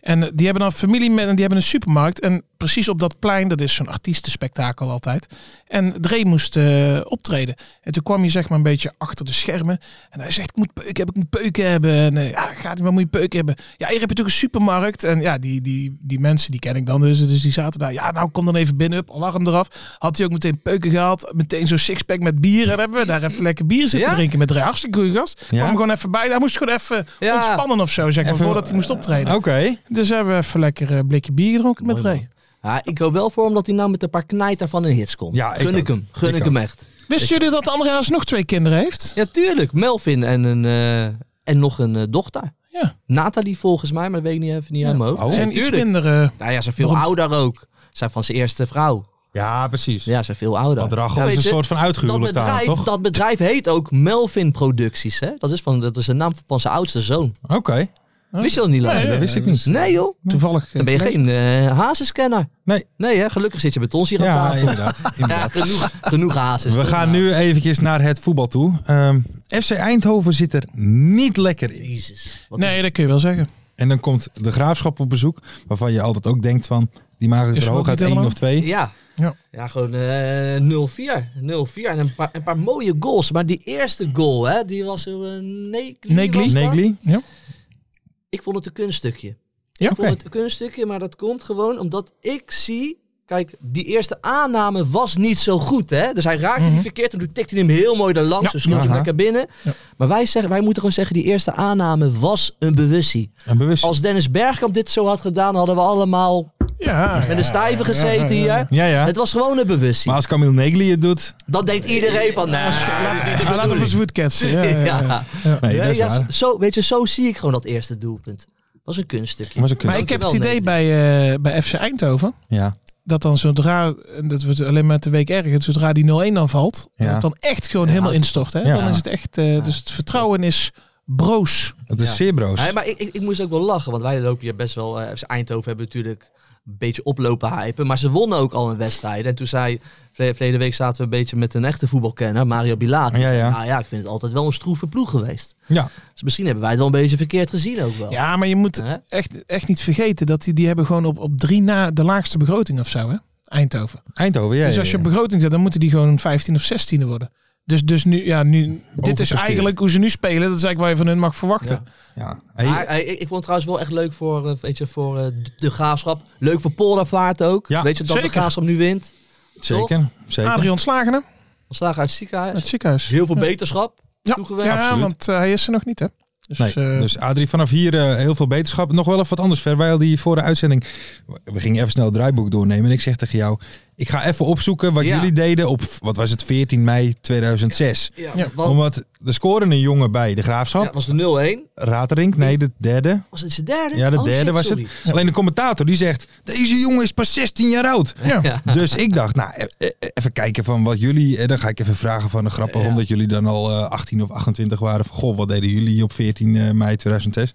Speaker 5: En eh, die hebben dan familie met, en die hebben een supermarkt. En precies op dat plein, dat is zo'n artiestenspektakel altijd. En Dre moest eh, optreden. En toen kwam hij zeg maar een beetje achter de schermen. En hij zegt, ik moet peuken hebben, ik moet peuken hebben. En eh, ja, gaat hij maar, moet je peuken hebben. Ja, hier heb je toch een supermarkt. En ja, die, die, die mensen, die ken ik dan dus. Dus die zaten daar. Ja, nou kom dan even binnen, up, alarm eraf. Had hij ook meteen peuken gehaald. Meteen zo'n sixpack met bier. En dan hebben we daar even lekker bier zitten
Speaker 4: Ja?
Speaker 5: drinken met Dre. Hartstikke goede gast.
Speaker 3: Ja?
Speaker 5: Kwam er gewoon even bij. Hij moest gewoon even
Speaker 4: Ja. Oh.
Speaker 5: ontspannen of zo, zeg maar,
Speaker 3: Even,
Speaker 5: voordat hij moest optreden.
Speaker 3: Oké.
Speaker 5: Dus hebben we even lekker een blikje bier gedronken met
Speaker 4: Mooi
Speaker 5: Dre.
Speaker 4: Ja, ik hoop wel voor hem dat hij nou met een paar knijter van een hits komt.
Speaker 3: Ja, ik
Speaker 4: Gun ik
Speaker 3: ook.
Speaker 4: hem. Gun
Speaker 3: Ik
Speaker 4: ik, hem echt.
Speaker 5: Wisten jullie dat André Hazes nog twee kinderen heeft?
Speaker 4: Ja, tuurlijk. Melvin en, een, eh, en nog een eh, dochter.
Speaker 5: Ja.
Speaker 4: Nathalie volgens mij, maar dat weet ik niet even niet uit mijn hoofd.
Speaker 3: Oh.
Speaker 5: Ze zijn
Speaker 4: En
Speaker 5: iets
Speaker 4: tuurlijk.
Speaker 5: minder... eh,
Speaker 4: Nou ja, ze is veel
Speaker 5: Beroemd.
Speaker 4: ouder ook. Ze is van zijn eerste vrouw.
Speaker 3: Ja, precies.
Speaker 4: Ja, ze is veel ouder.
Speaker 3: Want Rachel
Speaker 4: Ja,
Speaker 3: is
Speaker 4: weet
Speaker 3: een
Speaker 4: je,
Speaker 3: soort van
Speaker 4: dat
Speaker 3: uitgehuwelijk
Speaker 4: bedrijf,
Speaker 3: toch?
Speaker 4: dat bedrijf heet ook Melvin Producties. Hè? Dat, is van, dat is de naam van zijn oudste zoon.
Speaker 3: Oké,
Speaker 4: Wist je dat niet, Lars?
Speaker 3: dat
Speaker 5: Nee,
Speaker 3: wist ik niet.
Speaker 4: Nee joh,
Speaker 5: Toevallig. eh,
Speaker 4: dan ben je geen eh hazescanner.
Speaker 3: Nee.
Speaker 4: Nee hè, gelukkig zit je met ons hier aan
Speaker 3: Ja,
Speaker 4: tafel.
Speaker 3: inderdaad. inderdaad.
Speaker 4: *laughs* Ja, genoeg, genoeg hazes.
Speaker 3: We gaan nu eventjes naar het voetbal toe. Ehm, FC Eindhoven zit er niet lekker in.
Speaker 4: Jezus. Wat
Speaker 5: Nee, dat kun je wel zeggen.
Speaker 3: En dan komt de graafschap op bezoek, waarvan je altijd ook denkt van, die maken
Speaker 5: Is
Speaker 3: er
Speaker 5: er ook
Speaker 3: hooguit
Speaker 5: niet
Speaker 3: één of
Speaker 5: helemaal?
Speaker 3: twee.
Speaker 4: is- Ja.
Speaker 5: Ja.
Speaker 4: Ja. gewoon eh 0-4. 0-4 en een paar, een paar mooie goals. Maar die eerste goal, hè, die was... eh Negli,
Speaker 5: Negli.
Speaker 4: was dat?
Speaker 3: Negli?
Speaker 4: Ik vond het een kunststukje.
Speaker 5: Ja,
Speaker 4: ik vond het een kunststukje, maar dat komt gewoon omdat ik zie... Kijk, die eerste aanname was niet zo goed, hè? Dus hij raakte die verkeerd en toen tikte hij hem heel mooi daar langs.
Speaker 5: Ja.
Speaker 4: Dus sloeg hij
Speaker 3: Aha.
Speaker 4: hem lekker binnen.
Speaker 5: Ja.
Speaker 4: Maar wij, zeggen, wij moeten gewoon zeggen, die eerste aanname was een bewustie.
Speaker 3: Een bewust.
Speaker 4: Als Dennis Bergkamp dit zo had gedaan, hadden we allemaal
Speaker 5: Ja,
Speaker 4: met een stijve
Speaker 5: ja,
Speaker 4: gezeten
Speaker 5: ja, ja.
Speaker 4: hier.
Speaker 3: Ja, ja.
Speaker 4: Het was gewoon een bewustie.
Speaker 3: Maar als Camille Negli het doet,
Speaker 4: Dan denkt iedereen van, nou, dit is niet de
Speaker 5: Ja, laten we
Speaker 4: bedoeling.
Speaker 5: eens woodcatsen. Ja, ja, ja.
Speaker 4: Ja.
Speaker 3: nee, dat
Speaker 4: Nee,
Speaker 3: is
Speaker 4: ja,
Speaker 3: waar.
Speaker 4: zo, weet je, zo zie ik gewoon dat eerste doelpunt. was een kunststukje.
Speaker 3: was een kunst.
Speaker 5: Maar ik heb het
Speaker 4: Dankjewel,
Speaker 5: idee
Speaker 4: Nederland.
Speaker 5: bij, eh, bij FC Eindhoven.
Speaker 3: Ja.
Speaker 5: Dat dan zodra, en dat wordt alleen maar de week erger, zodra die 0-1 dan valt,
Speaker 3: Ja.
Speaker 5: dat het dan echt gewoon helemaal instort. Hè?
Speaker 3: Ja.
Speaker 5: Dan is het echt, eh, dus het vertrouwen is broos.
Speaker 3: Het is
Speaker 4: Ja.
Speaker 3: zeer broos.
Speaker 4: Nee, maar ik, ik, ik moest ook wel lachen, want wij lopen hier best wel. eh FC Eindhoven hebben natuurlijk een beetje oplopen hypen, maar ze wonnen ook al een wedstrijd. En toen zei, verle- verleden week zaten we een beetje met een echte voetbalkenner, Mario Bilater.
Speaker 3: Ja, ja.
Speaker 4: Nou ja, ik vind het altijd wel een stroeve ploeg geweest.
Speaker 3: Ja.
Speaker 4: Dus misschien hebben wij het wel een beetje verkeerd gezien ook wel.
Speaker 5: Ja, maar je moet
Speaker 4: Hè?
Speaker 5: echt, echt niet vergeten dat die, die hebben gewoon op, op drie na de laagste begroting of zo. Hè? Eindhoven.
Speaker 3: Eindhoven, ja.
Speaker 5: dus
Speaker 3: ja,
Speaker 5: als je
Speaker 3: ja.
Speaker 5: op begroting zet, dan moeten die gewoon 15 of 16e worden. Dus, dus nu, ja, nu, dit is
Speaker 3: Overpresteren.
Speaker 5: eigenlijk hoe ze nu spelen. Dat is eigenlijk waar je van hun mag verwachten.
Speaker 3: Ja. Hey,
Speaker 4: Maar, eh, ik, ik vond het trouwens wel echt leuk voor, eh, weet je, voor eh, de, de graafschap. Leuk voor Poldervaart ook.
Speaker 3: Ja,
Speaker 4: weet je dat
Speaker 5: zeker.
Speaker 4: de graafschap nu wint?
Speaker 3: zeker. zeker.
Speaker 5: Adrian Slagenen,
Speaker 4: Ontslagen uit het
Speaker 5: uit het
Speaker 4: ziekenhuis. Dus
Speaker 5: ziekenhuis.
Speaker 4: Heel veel beterschap.
Speaker 5: Ja,
Speaker 4: toegewenst.
Speaker 5: ja,
Speaker 3: Absoluut.
Speaker 5: want eh, hij is er nog niet, hè? Dus,
Speaker 3: Nee,
Speaker 5: eh,
Speaker 3: dus Adrie, vanaf hier eh, heel veel beterschap. Nog wel even wat anders. Ver, wij hadden hier voor de uitzending... We gingen even snel het draaiboek doornemen. En ik zeg tegen jou... Ik ga even opzoeken wat
Speaker 4: Ja.
Speaker 3: jullie deden op... Wat was het? 14 mei 2006.
Speaker 4: Ja,
Speaker 5: Ja,
Speaker 4: want-
Speaker 3: Omdat er scoren een jongen bij de
Speaker 4: ja,
Speaker 3: Graafschap.
Speaker 4: het was de 0-1.
Speaker 3: Raterink, nee, de derde.
Speaker 4: Was het de derde?
Speaker 3: Ja, de
Speaker 4: Oh,
Speaker 3: derde
Speaker 4: shit,
Speaker 3: was
Speaker 4: sorry.
Speaker 3: het. Alleen de commentator die zegt... Deze jongen is pas 16 jaar oud.
Speaker 5: ja.
Speaker 3: Dus ik dacht, nou, e- e- even kijken van wat jullie... En dan ga ik even vragen van de grappen,
Speaker 4: Ja.
Speaker 3: omdat jullie dan al eh, 18 of 28 waren. Van, goh, wat deden jullie op 14 eh, mei 2006?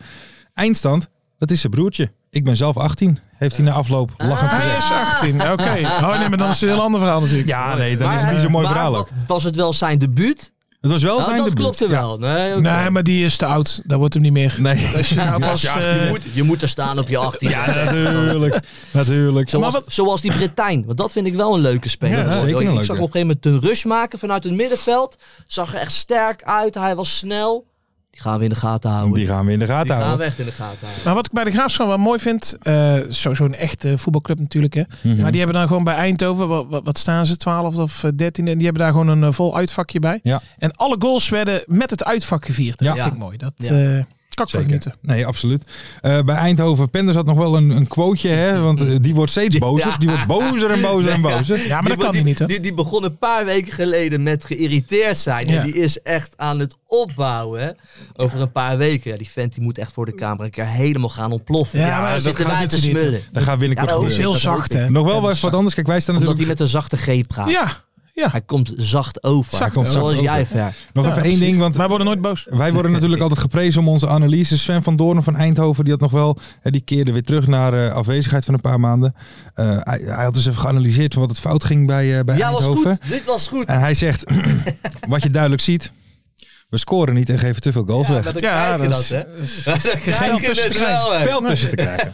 Speaker 3: Eindstand, dat is zijn broertje. Ik ben zelf 18, heeft hij na afloop
Speaker 4: Ah.
Speaker 3: lachend
Speaker 5: Hij
Speaker 3: gezegd.
Speaker 5: is 18, oké.
Speaker 4: *laughs*
Speaker 5: Oh nee, maar dan is het een heel ander verhaal natuurlijk.
Speaker 3: Ja, nee, dat is
Speaker 4: Maar, eh,
Speaker 3: niet zo'n mooi
Speaker 4: maar
Speaker 3: verhaal
Speaker 4: wa-
Speaker 3: ook.
Speaker 4: Was het wel zijn debuut?
Speaker 3: Het was wel
Speaker 4: Nou,
Speaker 3: zijn
Speaker 4: dat
Speaker 3: debuut.
Speaker 4: klopte
Speaker 3: Ja.
Speaker 4: wel. Nee, oké.
Speaker 5: Nee, maar die is te oud. Dat wordt hem niet meer.
Speaker 3: Nee,
Speaker 5: Als je nou pas,
Speaker 3: ja,
Speaker 5: eh,
Speaker 4: je, moet, je moet er staan
Speaker 3: *laughs*
Speaker 4: op je 18.
Speaker 3: ja, natuurlijk. natuurlijk.
Speaker 4: Zoals, zoals die Bretijn. Want dat vind ik wel een leuke speler.
Speaker 3: Ja,
Speaker 4: geworden.
Speaker 3: zeker een
Speaker 4: ik
Speaker 3: leuke.
Speaker 4: zag hem op een gegeven moment een rush maken vanuit het middenveld. Zag er echt sterk uit. Hij was snel. Die gaan we in de gaten houden.
Speaker 3: Die gaan we in de gaten
Speaker 4: Die gaan
Speaker 3: houden.
Speaker 4: we echt in de gaten houden.
Speaker 5: Maar Nou, wat ik bij de Graafschap wel mooi vind, eh sowieso een echte voetbalclub natuurlijk. Hè.
Speaker 3: Mhm.
Speaker 5: Maar die hebben dan gewoon bij Eindhoven, wat, wat, wat staan ze, 12 of eh, 13, en die hebben daar gewoon een eh, vol uitvakje bij.
Speaker 3: Ja.
Speaker 5: En alle goals werden met het uitvak gevierd.
Speaker 3: Ja.
Speaker 5: Dat vind ik mooi. Dat
Speaker 4: Ja.
Speaker 5: eh kan ik van genieten.
Speaker 3: Nee, absoluut. Eh, bij Eindhoven, Penders had nog wel een, een quoteje, hè? want eh, die wordt steeds bozer. Die wordt bozer en bozer en bozer.
Speaker 5: Ja, maar dat kan
Speaker 4: die,
Speaker 5: hij niet, hè?
Speaker 4: Die, die begon een paar weken geleden met geïrriteerd zijn.
Speaker 5: Ja.
Speaker 4: En die is echt aan het opbouwen. hè. Over een paar weken. Ja, die vent die moet echt voor de camera een keer helemaal gaan ontploffen.
Speaker 5: Ja, maar
Speaker 4: dan
Speaker 5: dat
Speaker 4: zitten
Speaker 5: gaat
Speaker 4: wij
Speaker 5: niet
Speaker 4: te
Speaker 5: zo niet.
Speaker 4: smullen.
Speaker 3: Dat gaat binnenkort
Speaker 4: Ja, dat
Speaker 5: Dat is
Speaker 3: gebeuren.
Speaker 5: heel
Speaker 4: dat
Speaker 5: zacht, hè?
Speaker 3: Nog wel
Speaker 5: Ja,
Speaker 3: wel
Speaker 5: dat
Speaker 3: even wat
Speaker 5: is zacht.
Speaker 3: anders. Kijk, wij staan
Speaker 4: Omdat
Speaker 3: natuurlijk...
Speaker 4: hij met een zachte G praat.
Speaker 5: Ja, ja.
Speaker 4: Hij komt zacht over.
Speaker 3: Hij komt zacht
Speaker 4: Zoals
Speaker 3: over.
Speaker 4: jij ver.
Speaker 3: Nog
Speaker 5: Ja,
Speaker 3: even één
Speaker 5: precies.
Speaker 3: ding, want
Speaker 5: Wij worden nooit boos.
Speaker 3: wij worden natuurlijk altijd geprezen om onze analyse. Sven van Doorn van Eindhoven, die had nog wel, eh, die keerde weer terug naar eh, afwezigheid van een paar maanden. Eh, hij, hij had dus even geanalyseerd wat het fout ging bij, eh, bij
Speaker 4: Ja, was
Speaker 3: Eindhoven.
Speaker 4: goed. Dit was goed.
Speaker 3: En hij zegt, *clears throat* wat je duidelijk ziet, we scoren niet en geven te veel goals
Speaker 4: Ja, maar
Speaker 3: weg.
Speaker 4: dan
Speaker 5: Ja,
Speaker 4: krijg je
Speaker 5: dat
Speaker 4: dat,
Speaker 5: is-
Speaker 4: hè? Dan krijg je
Speaker 5: tussen
Speaker 4: het
Speaker 5: te
Speaker 4: wel, hè?
Speaker 3: Pijl tussen te *laughs* krijgen.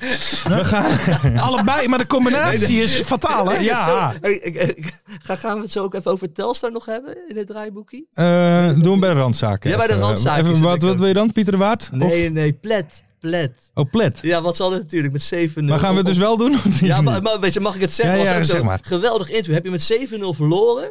Speaker 3: *laughs*
Speaker 5: Allebei, maar de combinatie is fataal, hè?
Speaker 3: Ja.
Speaker 4: Hey, ik- ik- ga- Gaan we het zo ook even over Telstar nog hebben in het draaiboekje?
Speaker 3: Eh, doen we bij de randzaken.
Speaker 4: Ja, bij de
Speaker 3: Even,
Speaker 4: randzaken
Speaker 3: Even,
Speaker 4: zit
Speaker 3: wat,
Speaker 4: ik
Speaker 3: wat
Speaker 4: ook.
Speaker 3: wil je dan, Pieter de Waard?
Speaker 4: Nee, nee, plet, plet.
Speaker 3: Of, oh, plet.
Speaker 4: Ja, wat zal het natuurlijk met 7-0.
Speaker 3: Maar gaan we het dus wel doen? of niet? *laughs*
Speaker 4: Ja, maar, maar weet je, mag ik het zeggen?
Speaker 3: Ja,
Speaker 4: Was
Speaker 3: ja,
Speaker 4: ook
Speaker 3: zeg
Speaker 4: zo'n
Speaker 3: maar. Mhm.
Speaker 4: Geweldig interview. Heb je met 7-0 verloren?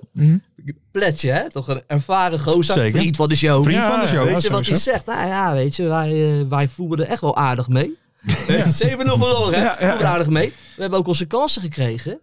Speaker 4: Pletje, hè? Toch een ervaren gozer.
Speaker 3: Zeker.
Speaker 4: Vriend van de show.
Speaker 3: Vriend
Speaker 5: Ja,
Speaker 3: van de show.
Speaker 5: ja,
Speaker 4: Weet je wat hij
Speaker 5: sowieso.
Speaker 4: zegt? Nou ja, weet je, wij, eh, wij voelden er echt wel aardig mee. *laughs* 7-0 verloren, hè?
Speaker 5: Ja, ja,
Speaker 4: Voelden er
Speaker 5: ja.
Speaker 4: aardig mee. We hebben ook onze kansen gekregen.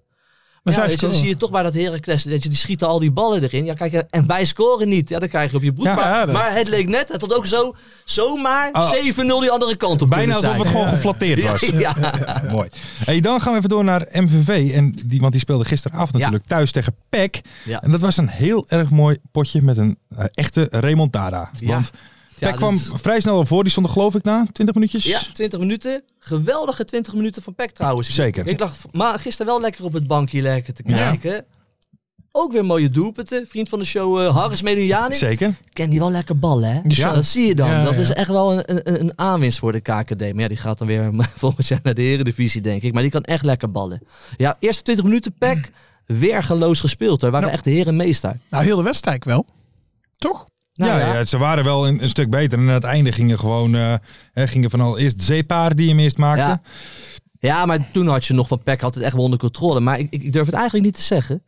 Speaker 5: Maar
Speaker 4: ja,
Speaker 5: zij
Speaker 4: weet je, dan
Speaker 5: scoren.
Speaker 4: zie je toch bij dat Heracles, dat je, die schieten al die ballen erin. Ja, kijk, en wij scoren niet. Ja, dan krijg je op je broek.
Speaker 3: Ja,
Speaker 4: maar,
Speaker 5: ja, dat-
Speaker 4: maar het leek net, het had ook zo, zomaar
Speaker 3: Oh.
Speaker 4: 7-0 die andere kant op
Speaker 3: Bijna
Speaker 4: kunnen
Speaker 3: alsof het
Speaker 4: zijn.
Speaker 3: gewoon geflatteerd was. *laughs*
Speaker 4: Ja, ja.
Speaker 3: Mooi. Hey, dan gaan we even door naar MVV. En die, want die speelde gisteravond natuurlijk thuis tegen PEC.
Speaker 4: Ja.
Speaker 3: En dat was een heel erg mooi potje met een eh, echte remontada.
Speaker 4: Ja.
Speaker 3: Want
Speaker 4: Ja,
Speaker 3: PEC kwam
Speaker 4: dat-
Speaker 3: vrij snel al voor. Die stonden geloof ik na 20 minuutjes.
Speaker 4: Ja, 20 minuten. Geweldige 20 minuten van Peck trouwens. Ik-
Speaker 3: Zeker.
Speaker 4: Ik lag v- maar gisteren wel lekker op het bankje lekker te kijken. Ook weer mooie doelpunten. Vriend van de show eh, Harris Medunjani.
Speaker 3: Zeker.
Speaker 4: Ken die wel lekker ballen, hè?
Speaker 5: Ja.
Speaker 4: Dat zie je dan.
Speaker 5: Ja,
Speaker 4: dat
Speaker 5: ja.
Speaker 4: is echt wel een, een, een aanwinst voor de KKD. Maar ja, die gaat dan weer *laughs* volgend jaar naar de Eredivisie, denk ik. Maar die kan echt lekker ballen. Ja, eerste 20 minuten Peck. Weergeloos gespeeld. Daar waren echt de heren meester.
Speaker 5: Nou, heel de wedstrijd wel. Toch?
Speaker 4: Nou
Speaker 3: ja,
Speaker 4: ja.
Speaker 3: ja, ze waren wel een, een stuk beter. En aan het einde gingen gewoon eh, hè, gingen van al eerst Zeepaar die hem eerst maakte. *laughs*
Speaker 4: Ja. Ja, maar toen had je nog van Peck had het echt wel onder controle. Maar ik, ik, ik durf het eigenlijk niet te zeggen.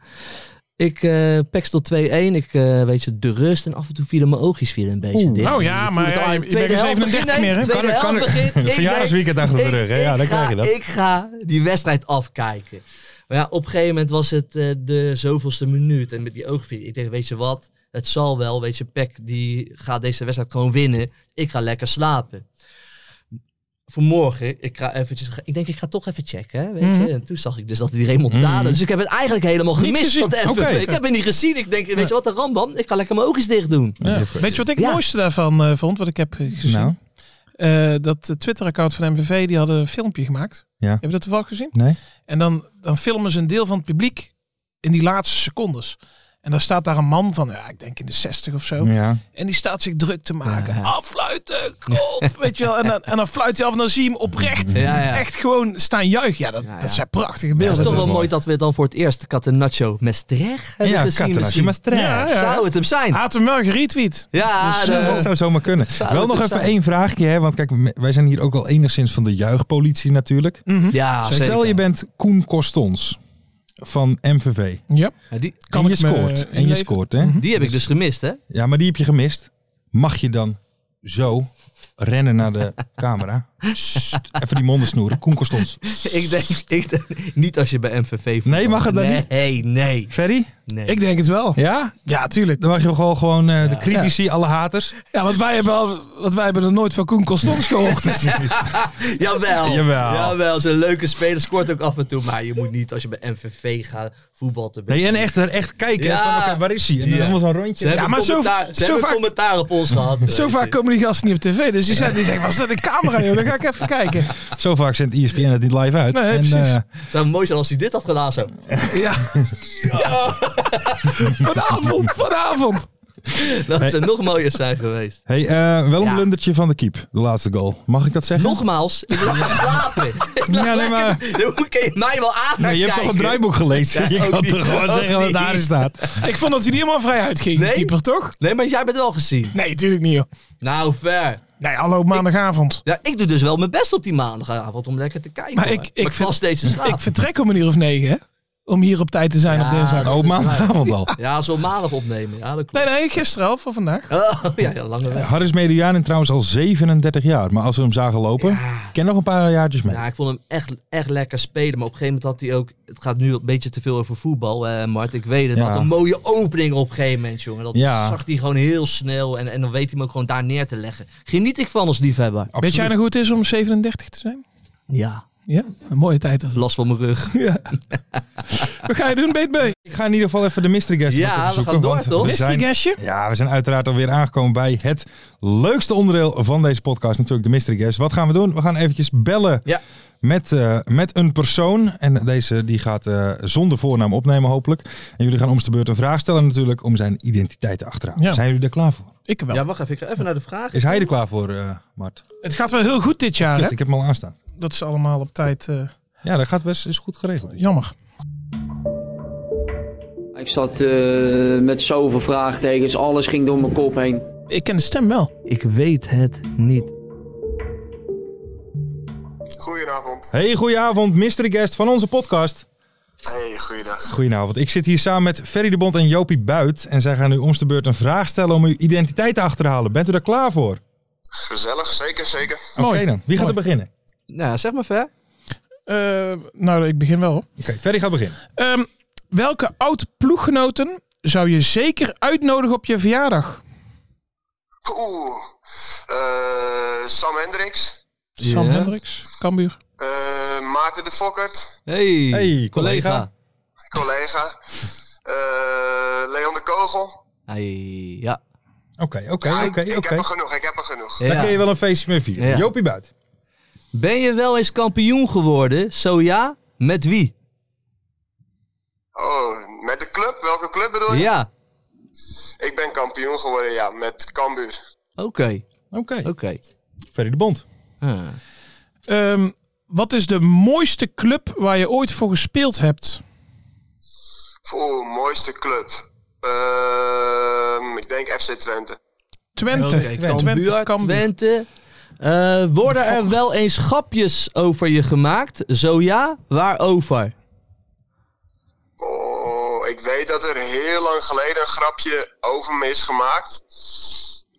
Speaker 4: Ik eh Peck stond 2-1. Ik eh, weet je, de rust en af en toe vielen mijn oogjes weer een beetje dicht.
Speaker 5: Oh ja,
Speaker 4: Je
Speaker 5: maar
Speaker 4: voelt het
Speaker 5: ja,
Speaker 4: al in
Speaker 5: je
Speaker 4: de tweede
Speaker 5: bent geen
Speaker 4: helft
Speaker 5: 37
Speaker 4: begint,
Speaker 5: meer, hè?
Speaker 4: tweede
Speaker 3: Kan ik- kan
Speaker 4: helft
Speaker 5: *laughs*
Speaker 3: ik-
Speaker 4: begint. Ik
Speaker 3: verjaardagsweekend
Speaker 4: denk,
Speaker 3: achter de
Speaker 4: ik-
Speaker 3: rug, hè? Ja,
Speaker 4: ik
Speaker 3: dan krijg je
Speaker 4: ga-
Speaker 3: dat.
Speaker 4: Ik ga die wedstrijd afkijken. Maar ja, op een gegeven moment was het eh, de zoveelste minuut. En met die oogvier. Ik denk, weet je wat? Het zal wel. Weet je, Peck die gaat deze wedstrijd gewoon winnen. Ik ga lekker slapen. vanmorgen, ik, ga eventjes, ik denk ik ga toch even checken. hè, Weet
Speaker 5: Mhm.
Speaker 4: je? En toen zag ik dus dat die remontade.
Speaker 3: Mhm.
Speaker 4: Dus ik heb het eigenlijk helemaal
Speaker 5: Niet
Speaker 4: gemist.
Speaker 5: gezien.
Speaker 4: Wat de
Speaker 3: Oké.
Speaker 4: FNV. Ik heb het niet gezien. Ik denk, weet je wat, de Rambam, ik ga lekker mijn oogjes dicht doen.
Speaker 5: Ja. Weet je wat ik het
Speaker 4: Ja.
Speaker 5: mooiste daarvan eh, vond, wat ik heb eh, gezien?
Speaker 3: Nou,
Speaker 5: Eh, dat eh, Twitter-account van MVV, die hadden een filmpje gemaakt.
Speaker 3: Ja.
Speaker 5: Heb je dat toevallig gezien?
Speaker 3: nee.
Speaker 5: En dan, dan filmen ze een deel van het publiek in die laatste secondes. En dan staat daar een man van, ja, ik denk in de 60 of zo.
Speaker 3: Ja.
Speaker 5: En die staat zich druk te maken. Affluiten, kop, *laughs* weet je wel. En dan, en dan fluit hij af en dan zie je hem oprecht
Speaker 4: Ja, ja.
Speaker 5: echt gewoon staan juichen. Ja, dat,
Speaker 4: Ja, ja.
Speaker 5: dat zijn prachtige
Speaker 4: Ja, het
Speaker 5: beelden.
Speaker 4: is toch wel
Speaker 3: mooi.
Speaker 4: mooi dat we dan voor het eerst Catenaccio Maastricht hebben
Speaker 3: Ja,
Speaker 4: gezien.
Speaker 3: Catenaccio
Speaker 4: misschien.
Speaker 3: Maastricht.
Speaker 5: Ja, ja.
Speaker 4: Zou het hem zijn?
Speaker 5: Hatenmelk retweet.
Speaker 4: Ja,
Speaker 3: Dus,
Speaker 4: de-
Speaker 3: eh, dat zou zomaar kunnen.
Speaker 4: zou
Speaker 3: Wel
Speaker 4: het
Speaker 3: nog
Speaker 4: dus
Speaker 3: even
Speaker 4: zijn.
Speaker 3: één vraagje, hè? want kijk, me- wij zijn hier ook al enigszins van de juichpolitie natuurlijk.
Speaker 5: Mhm.
Speaker 4: ja
Speaker 3: Stel,
Speaker 4: zeker.
Speaker 3: je bent Koen Kostons van MVV.
Speaker 5: Ja.
Speaker 4: Ja, Nou, die,
Speaker 5: Kan
Speaker 3: en je
Speaker 5: ik me
Speaker 3: scoort. En je
Speaker 5: inleven?
Speaker 3: scoort, hè?
Speaker 4: die heb ik dus gemist, hè?
Speaker 3: Ja, maar die heb je gemist. Mag je dan zo rennen naar *laughs* de camera? Sst, even die monden snoeren. Koen Kostons.
Speaker 4: ik, denk, ik denk- niet als je bij MVV voetbalt.
Speaker 3: Nee, mag het dan
Speaker 4: nee,
Speaker 3: niet?
Speaker 4: Nee, nee,
Speaker 3: Ferry?
Speaker 4: nee.
Speaker 5: Ik denk het wel.
Speaker 3: Ja?
Speaker 5: Ja, tuurlijk.
Speaker 3: Dan mag je gewoon, gewoon eh, de critici, alle haters.
Speaker 5: Ja, want wij hebben, al, want wij hebben er nooit van Koen
Speaker 3: *laughs*
Speaker 5: Constans gehoord. Dus
Speaker 4: Jawel.
Speaker 3: Jawel.
Speaker 4: Jawel, zo'n leuke speler scoort ook af en toe. Maar je moet niet als je bij MVV gaat voetballen.
Speaker 3: Nee, en echt, echt kijken. hè,
Speaker 4: Ja.
Speaker 3: Van, oké, waar is hij? En dan
Speaker 4: Ja.
Speaker 3: helemaal zo'n rondje.
Speaker 4: Ze hebben,
Speaker 5: maar zo-
Speaker 4: commentaar,
Speaker 5: zo
Speaker 4: ze hebben
Speaker 5: vaak-
Speaker 4: commentaar op ons gehad.
Speaker 5: zo vaak komen die gasten niet op tv. Dus die, zijn, die zeggen, was dat een camera? Joh? Dan ga ik even kijken.
Speaker 3: Zo vaak zendt E ESPN het niet live uit.
Speaker 5: Nee,
Speaker 3: en,
Speaker 5: precies.
Speaker 3: eh,
Speaker 4: Zou mooi zijn als hij dit had gedaan zo.
Speaker 5: Ja.
Speaker 4: *laughs*
Speaker 5: Vanavond, vanavond.
Speaker 4: Dat zou nog mooier zijn geweest.
Speaker 3: hey, eh, wel een
Speaker 4: Ja.
Speaker 3: blundertje van de keep. De laatste goal. Mag ik dat zeggen?
Speaker 4: Nogmaals, ik lag te slapen. Ik lag
Speaker 3: Ja, nee,
Speaker 4: lekker-
Speaker 3: maar-
Speaker 4: *laughs* Dan kun je mij wel aan gaan
Speaker 3: Nee, je hebt toch
Speaker 4: kijken.
Speaker 3: een draaiboek gelezen?
Speaker 4: Ja,
Speaker 3: je
Speaker 4: ook
Speaker 3: kan
Speaker 4: niet,
Speaker 3: toch gewoon
Speaker 4: ook
Speaker 3: zeggen wat
Speaker 4: niet.
Speaker 3: daarin staat?
Speaker 5: Ik vond dat hij niet helemaal vrij uitging,
Speaker 4: Nee?
Speaker 5: de keeper, toch?
Speaker 4: Nee, maar jij bent wel gezien.
Speaker 5: Nee, natuurlijk niet, joh.
Speaker 4: Nou, ver.
Speaker 5: Nee, hallo, maandagavond.
Speaker 4: Ja, ik doe dus wel mijn best op die maandagavond om lekker te kijken.
Speaker 5: Maar
Speaker 4: hoor.
Speaker 5: ik- ik
Speaker 4: maar ik
Speaker 5: vind-
Speaker 4: val steeds in
Speaker 3: Ah.
Speaker 4: slaap.
Speaker 5: Ik vertrek om een uur of negen, hè? Om hier op tijd te zijn
Speaker 4: Ja.
Speaker 5: op dinsdag.
Speaker 3: Oh, maandagavond al.
Speaker 4: Ja, zo maandag opnemen. Ja, dat klopt.
Speaker 5: Nee, nee, gisteren al, voor vandaag.
Speaker 4: Oh, ja, ja, lange weg.
Speaker 3: Harris Medianen trouwens al 37 jaar. Maar als we hem zagen lopen, ken nog een paar jaartjes mee.
Speaker 4: Ja, ik vond hem echt, echt lekker spelen. Maar op een gegeven moment had hij ook... Het gaat nu een beetje te veel over voetbal, eh, Mart. Ik weet het.
Speaker 3: Ja.
Speaker 4: Maar had een mooie opening op een gegeven moment, jongen. Dat
Speaker 3: Ja.
Speaker 4: zag hij gewoon heel snel. En, en dan weet hij hem ook gewoon daar neer te leggen. Geniet ik van als liefhebber.
Speaker 3: Oh.
Speaker 5: Weet jij nog hoe het is om 37 te zijn?
Speaker 4: Ja.
Speaker 5: Ja, een mooie tijd was het.
Speaker 4: Last van mijn rug.
Speaker 5: Wat ga je doen, BTB?
Speaker 3: Ik ga in ieder geval even de mystery guest
Speaker 4: Ja,
Speaker 3: wat
Speaker 4: we
Speaker 3: zoeken,
Speaker 4: gaan door,
Speaker 3: want
Speaker 4: toch?
Speaker 3: We
Speaker 5: Mystery
Speaker 3: zijn,
Speaker 5: guestje?
Speaker 3: ja, we zijn uiteraard alweer aangekomen bij het leukste onderdeel van deze podcast. Natuurlijk de mystery guest. Wat gaan we doen? We gaan eventjes bellen
Speaker 4: Ja.
Speaker 3: met, eh, met een persoon. En deze die gaat eh, zonder voornaam opnemen hopelijk. En jullie gaan om de beurt een vraag stellen natuurlijk om zijn identiteit te achterhalen.
Speaker 5: Ja.
Speaker 3: Zijn jullie er klaar voor?
Speaker 5: Ik wel.
Speaker 4: Ja, wacht even. Ik ga even naar de vraag.
Speaker 3: Is hij er klaar voor, eh, Mart?
Speaker 5: Het gaat wel heel goed dit jaar,
Speaker 3: Kut,
Speaker 5: Ah, hè?
Speaker 3: ik heb hem al aanstaan.
Speaker 5: Dat is allemaal op tijd eh,
Speaker 3: Ja, dat gaat best is goed geregeld.
Speaker 5: jammer.
Speaker 6: Ik zat eh, met zoveel vraagtekens, alles ging door mijn kop heen.
Speaker 5: Ik ken de stem wel.
Speaker 4: Ik weet het niet.
Speaker 7: Goedenavond.
Speaker 3: Hey, goedenavond, mystery guest van onze podcast.
Speaker 7: Hey, goeiedag.
Speaker 3: Goedenavond, ik zit hier samen met Ferry de Bond en Jopie Buit. En zij gaan u om de beurt een vraag stellen om uw identiteit te achterhalen. Bent u daar klaar voor? Oké
Speaker 7: Gezellig, zeker, zeker.
Speaker 5: Mooi.
Speaker 3: dan, wie gaat
Speaker 5: Mooi.
Speaker 3: er beginnen? Oké,
Speaker 4: Nou, zeg maar ver.
Speaker 5: Eh, nou, ik begin wel, hoor.
Speaker 3: Ferry gaat beginnen.
Speaker 5: Ehm, welke oud-ploeggenoten zou je zeker uitnodigen op je verjaardag?
Speaker 7: Oeh. Eh, Sam Hendricks.
Speaker 5: Sam
Speaker 4: Ja.
Speaker 5: Hendricks, Cambuur.
Speaker 7: Eh, Maarten de Fokkert.
Speaker 4: Hey,
Speaker 3: Hey, collega.
Speaker 4: collega.
Speaker 7: Collega. Eh, Leon de Kogel.
Speaker 4: Hey, ja.
Speaker 3: Oké,
Speaker 7: Ja,
Speaker 3: oké,
Speaker 7: ik-
Speaker 3: oké,
Speaker 7: Ik heb
Speaker 3: oké.
Speaker 7: er genoeg, ik heb er genoeg.
Speaker 3: Daar
Speaker 4: Ja.
Speaker 3: kun je wel een feestje mee vieren.
Speaker 4: Ja.
Speaker 3: Jopie Buit.
Speaker 4: Ben je wel eens kampioen geworden? Zo ja, met wie?
Speaker 7: Oh, met de club? Welke club bedoel je?
Speaker 4: Ja,
Speaker 7: Ik ben kampioen geworden, ja, met Cambuur.
Speaker 4: oké,
Speaker 3: Oké,
Speaker 4: oké.
Speaker 3: Ferry de Bond.
Speaker 4: Ah.
Speaker 5: Ehm, wat is de mooiste club waar je ooit voor gespeeld hebt?
Speaker 7: Oeh, mooiste club. Ehm, ik denk FC Twente.
Speaker 5: Twente.
Speaker 4: Oké,
Speaker 5: Twente.
Speaker 4: Cambuur, Twente. Eh, worden er wel eens grapjes over je gemaakt? Zo ja, waarover?
Speaker 7: Oh, ik weet dat er heel lang geleden een grapje over me is gemaakt.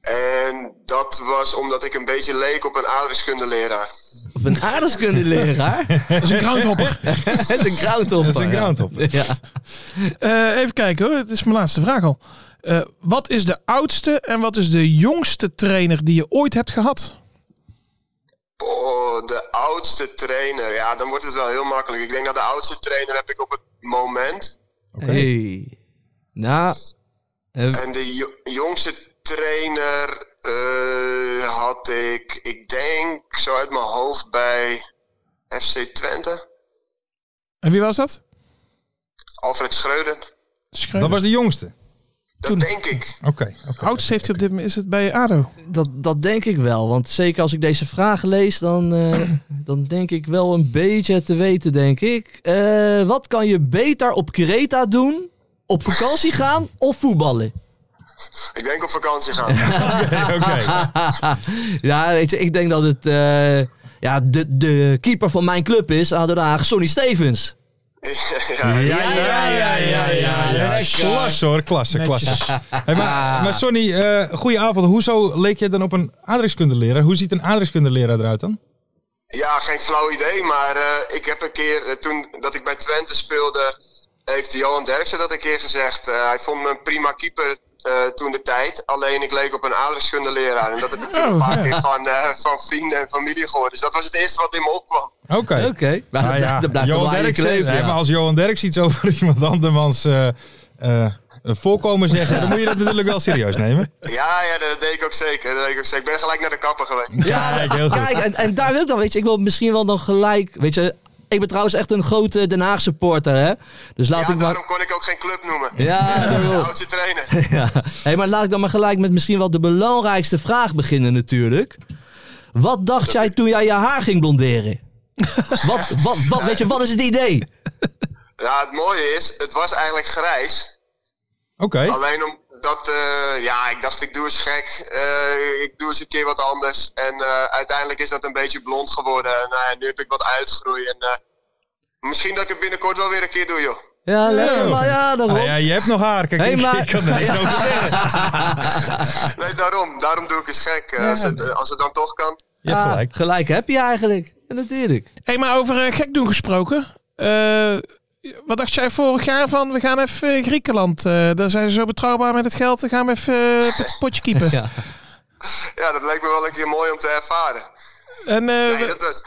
Speaker 7: En dat was omdat ik een beetje leek op een aardrijkskundeleraar.
Speaker 4: Of een aardrijkskundeleraar?
Speaker 3: *laughs*
Speaker 5: Dat is een groundhopper.
Speaker 4: dat is een groundhopper.
Speaker 3: Dat is een
Speaker 4: ja.
Speaker 3: groundhopper.
Speaker 4: Ja.
Speaker 5: Eh, even kijken hoor, het is mijn laatste vraag al. Eh, wat is de oudste en wat is de jongste trainer die je ooit hebt gehad?
Speaker 7: Oh, de oudste trainer. Ja, dan wordt het wel heel makkelijk. Ik denk dat de oudste trainer heb ik op het moment.
Speaker 3: Oké.
Speaker 4: Hey. Nou, eh,
Speaker 7: En de jo- jongste trainer eh, had ik, ik denk, zo uit mijn hoofd bij FC Twente.
Speaker 5: En wie was dat?
Speaker 7: Alfred Schreuder.
Speaker 5: Schreuder.
Speaker 3: Dat was de jongste.
Speaker 7: Dat
Speaker 5: Toen-
Speaker 7: denk ik.
Speaker 3: Oké. oké.
Speaker 5: Oudst heeft hij op dit moment, is het bij ADO.
Speaker 4: dat, dat denk ik wel. Want zeker als ik deze vragen lees, dan, eh, *clears throat* dan denk ik wel een beetje het te weten, denk ik. Eh, wat kan je beter op Creta doen? Op vakantie gaan of voetballen?
Speaker 7: Ik denk op vakantie gaan.
Speaker 4: Ah,
Speaker 3: Oké.
Speaker 4: *laughs* ja, weet je, ik denk dat het eh, ja, de, de keeper van mijn club is, ADO Den Haag, Sonny Stevens.
Speaker 7: ja,
Speaker 3: Ja, ja, ja, ja, ja. Klasse hoor, klasse, klasse. Hey,
Speaker 4: Ah.
Speaker 3: maar, maar Sonny, eh, goeie avond. Hoezo leek je dan op een aardrijkskundeleraar? Hoe ziet een aardrijkskundeleraar eruit dan?
Speaker 7: Ja, geen flauw idee, maar eh, ik heb een keer, eh, toen dat ik bij Twente speelde, heeft Johan Derksen dat een keer gezegd. Eh, hij vond me een prima keeper eh, toen de tijd, alleen ik leek op een aardrijkskundeleraar. En dat heb ik
Speaker 4: Oh,
Speaker 7: toen een paar keer van, eh, van vrienden en familie gehoord. Dus dat was het eerste wat in me opkwam.
Speaker 3: Oké.
Speaker 4: Oké, *laughs* maar
Speaker 3: Nou
Speaker 4: dat,
Speaker 3: ja,
Speaker 4: dat blijft toch wel aan je
Speaker 3: Derksen,
Speaker 4: kleven,
Speaker 3: hè,
Speaker 4: ja.
Speaker 3: maar als Johan Derks iets over *laughs* iemand andermans eh, eh, voorkomen zeggen, dan moet je dat natuurlijk wel serieus
Speaker 5: *laughs*
Speaker 3: nemen.
Speaker 7: Ja, ja, dat deed ik ook zeker. Dat deed ik ook zeker. Ik ben gelijk naar de kapper geweest.
Speaker 3: Ja, kijk, heel goed.
Speaker 4: Kijk, en, en daar wil ik dan, weet je, ik wil misschien wel dan gelijk, weet je, ik ben trouwens echt een grote Den Haag supporter, hè. Dus laat
Speaker 7: ja,
Speaker 4: ik maar...
Speaker 7: daarom kon ik ook geen club noemen.
Speaker 4: Ja, daarom.
Speaker 7: Oudste
Speaker 4: *laughs*
Speaker 7: trainer.
Speaker 4: ja. Hey, maar laat ik dan maar gelijk met misschien wel de belangrijkste vraag beginnen natuurlijk. Wat dacht jij toen jij je haar ging blonderen? wat, wat, wat, weet je, wat is het idee?
Speaker 7: Ja, het mooie is, het was eigenlijk grijs.
Speaker 3: Oké.
Speaker 7: Alleen omdat, eh, ja, ik dacht ik doe eens gek. Eh, ik doe eens een keer wat anders. En eh, uiteindelijk is dat een beetje blond geworden. En nou ja, nu heb ik wat uitgroei. En eh, misschien dat ik het binnenkort wel weer een keer doe, joh.
Speaker 4: Ja, lekker, maar ja, daarom.
Speaker 3: Nou ja, je hebt nog haar. Kijk,
Speaker 4: Hey,
Speaker 3: ik,
Speaker 4: maar-
Speaker 3: ik kan
Speaker 4: *laughs*
Speaker 3: er niks over zeggen.
Speaker 7: Nee, daarom. Daarom doe ik eens gek. eh, als, het, eh, als het dan toch kan.
Speaker 3: Je hebt
Speaker 4: Ja,
Speaker 3: gelijk.
Speaker 4: gelijk heb je eigenlijk. Ja, natuurlijk.
Speaker 5: Hé, maar over eh, gek doen gesproken. Eh, wat dacht jij vorig jaar van, we gaan even eh, Griekenland. eh, daar zijn ze zo betrouwbaar met het geld, dan gaan we even eh, pot- potje kiepen.
Speaker 4: *laughs* Ja.
Speaker 7: Ja, dat leek me wel een keer mooi om te ervaren.
Speaker 5: En, eh,
Speaker 7: Nee, dat was,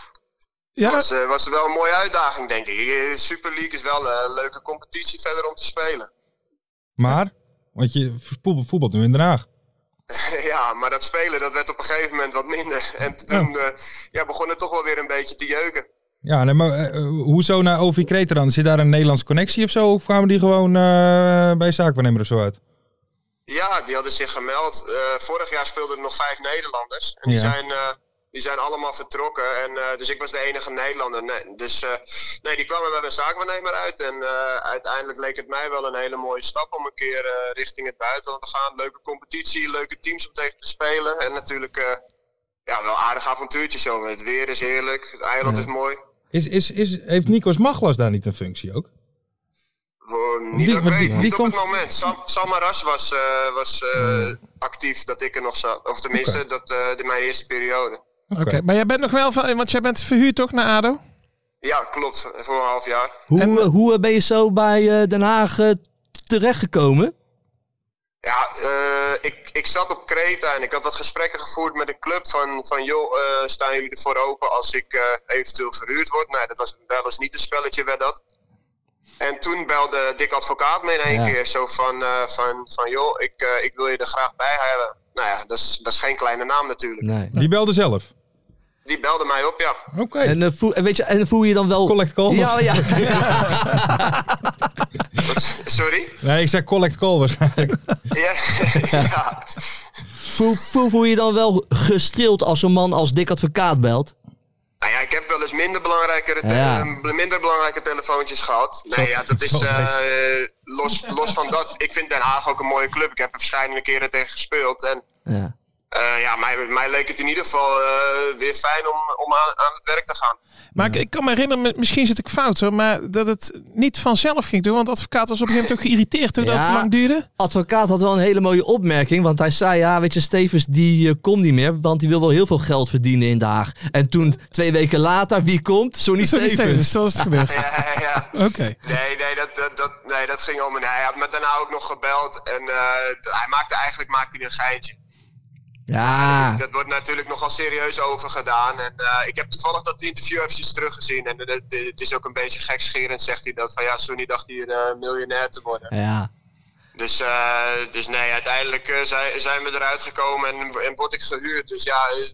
Speaker 5: ja,
Speaker 7: was, eh, was wel een mooie uitdaging, denk ik. Eh, Super League is wel eh, een leuke competitie verder om te spelen. *laughs*
Speaker 3: Maar, want je voetbal- voetbalt nu in Den Haag.
Speaker 7: Ja, maar dat spelen dat werd op een gegeven moment wat minder. En toen eh, ja, begon het toch wel weer een beetje te jeuken.
Speaker 3: Ja, nee, maar eh, eh, hoezo naar Ovi Kreta dan? Zit daar een Nederlandse connectie of zo? Of kwamen die gewoon eh, bij zaakwaarnemer of zo uit?
Speaker 7: Ja, die hadden zich gemeld. Eh, vorig jaar speelden er nog vijf Nederlanders. En die,
Speaker 3: Ja.
Speaker 7: zijn, eh, die zijn allemaal vertrokken. En, eh, dus ik was de enige Nederlander. Nee, dus eh, nee, die kwamen bij mijn zaakwaarnemer uit. En eh, uiteindelijk leek het mij wel een hele mooie stap om een keer eh, richting het buitenland te gaan. Leuke competitie, leuke teams om tegen te spelen. En natuurlijk eh, ja, wel aardig avontuurtje zo. Het weer is heerlijk, het eiland is mooi.
Speaker 3: Is, is, is, heeft Nikos Maglas daar niet een functie ook?
Speaker 7: Voor-
Speaker 3: Die-
Speaker 7: niet dat ik
Speaker 3: want die-
Speaker 7: weet, niet
Speaker 3: die
Speaker 7: op
Speaker 3: komt-
Speaker 7: het moment. Sam, Samaras was, eh, was eh, actief dat ik er nog zat. Of tenminste, dat, eh, de, mijn eerste periode.
Speaker 5: oké. Maar jij bent nog wel van, want jij bent verhuurd toch naar ADO?
Speaker 7: Ja, klopt. Voor een half jaar.
Speaker 4: Hoe, eh, hoe eh, ben je zo bij eh, Den Haag eh, terechtgekomen?
Speaker 7: Ja, eh, ik, ik zat op Kreta en ik had wat gesprekken gevoerd met een club van, van joh, eh, staan jullie ervoor open als ik eh, eventueel verhuurd word? Nee, dat was wel eens niet een spelletje, werd dat. En toen belde Dick Advocaat me in één
Speaker 4: Ja.
Speaker 7: keer zo van, eh, van, van joh, ik, eh, ik wil je er graag bij hebben. Nou ja, dat is, dat is geen kleine naam natuurlijk.
Speaker 4: Nee.
Speaker 3: Die belde zelf.
Speaker 7: Die belde mij op, ja.
Speaker 3: Oké.
Speaker 4: En, eh, voel, en weet je, en voel je dan wel...
Speaker 3: Collect call.
Speaker 4: Ja, *laughs* ja.
Speaker 7: Sorry?
Speaker 3: Nee, ik zei collect call
Speaker 4: *laughs*
Speaker 3: waarschijnlijk.
Speaker 7: Ja, *laughs* ja.
Speaker 4: Voel, voel, voel je dan wel gestreeld als een man als dik advocaat belt?
Speaker 7: Nou ja, ik heb wel eens minder belangrijke, te-
Speaker 4: Ja.
Speaker 7: eh, minder belangrijke telefoontjes gehad. Nee, ja, dat is
Speaker 3: zo
Speaker 7: eh, los, los van dat. Ik vind Den Haag ook een mooie club. Ik heb er verschillende keren tegen gespeeld. En
Speaker 4: Ja.
Speaker 7: eh, ja, mij, mij leek het in ieder geval eh, weer fijn om, om aan, aan het werk te gaan.
Speaker 5: Maar ik, ik kan me herinneren, mi- misschien zit ik fout hoor, maar dat het niet vanzelf ging doen. Want de advocaat was op een gegeven moment ook geïrriteerd toen dat
Speaker 4: Ja.
Speaker 5: te lang duurde.
Speaker 4: Advocaat had wel een hele mooie opmerking, want hij zei, ja, weet je, Stevens die eh, komt niet meer, want die wil wel heel veel geld verdienen in Den Haag. En toen, twee weken later, wie komt? Sonny
Speaker 5: Sorry, Steven,
Speaker 4: Stevens.
Speaker 5: dus dat is het *laughs* gebeurd.
Speaker 7: Ja, ja, ja.
Speaker 5: Oké.
Speaker 7: Nee, nee, dat, dat, dat, nee, dat ging om. En hij had me daarna ook nog gebeld. En eh, hij maakte eigenlijk maakte hij een geintje.
Speaker 4: Ja,
Speaker 7: Dat wordt natuurlijk nogal serieus overgedaan. En eh, ik heb toevallig dat interview eventjes teruggezien. En het, het is ook een beetje gekscherend, zegt hij dat. Van ja, Sonny dacht hier eh, miljonair te worden.
Speaker 4: ja.
Speaker 7: Dus, eh, dus nee, uiteindelijk eh, zijn, zijn we eruit gekomen en, en word ik gehuurd. Dus ja, eh,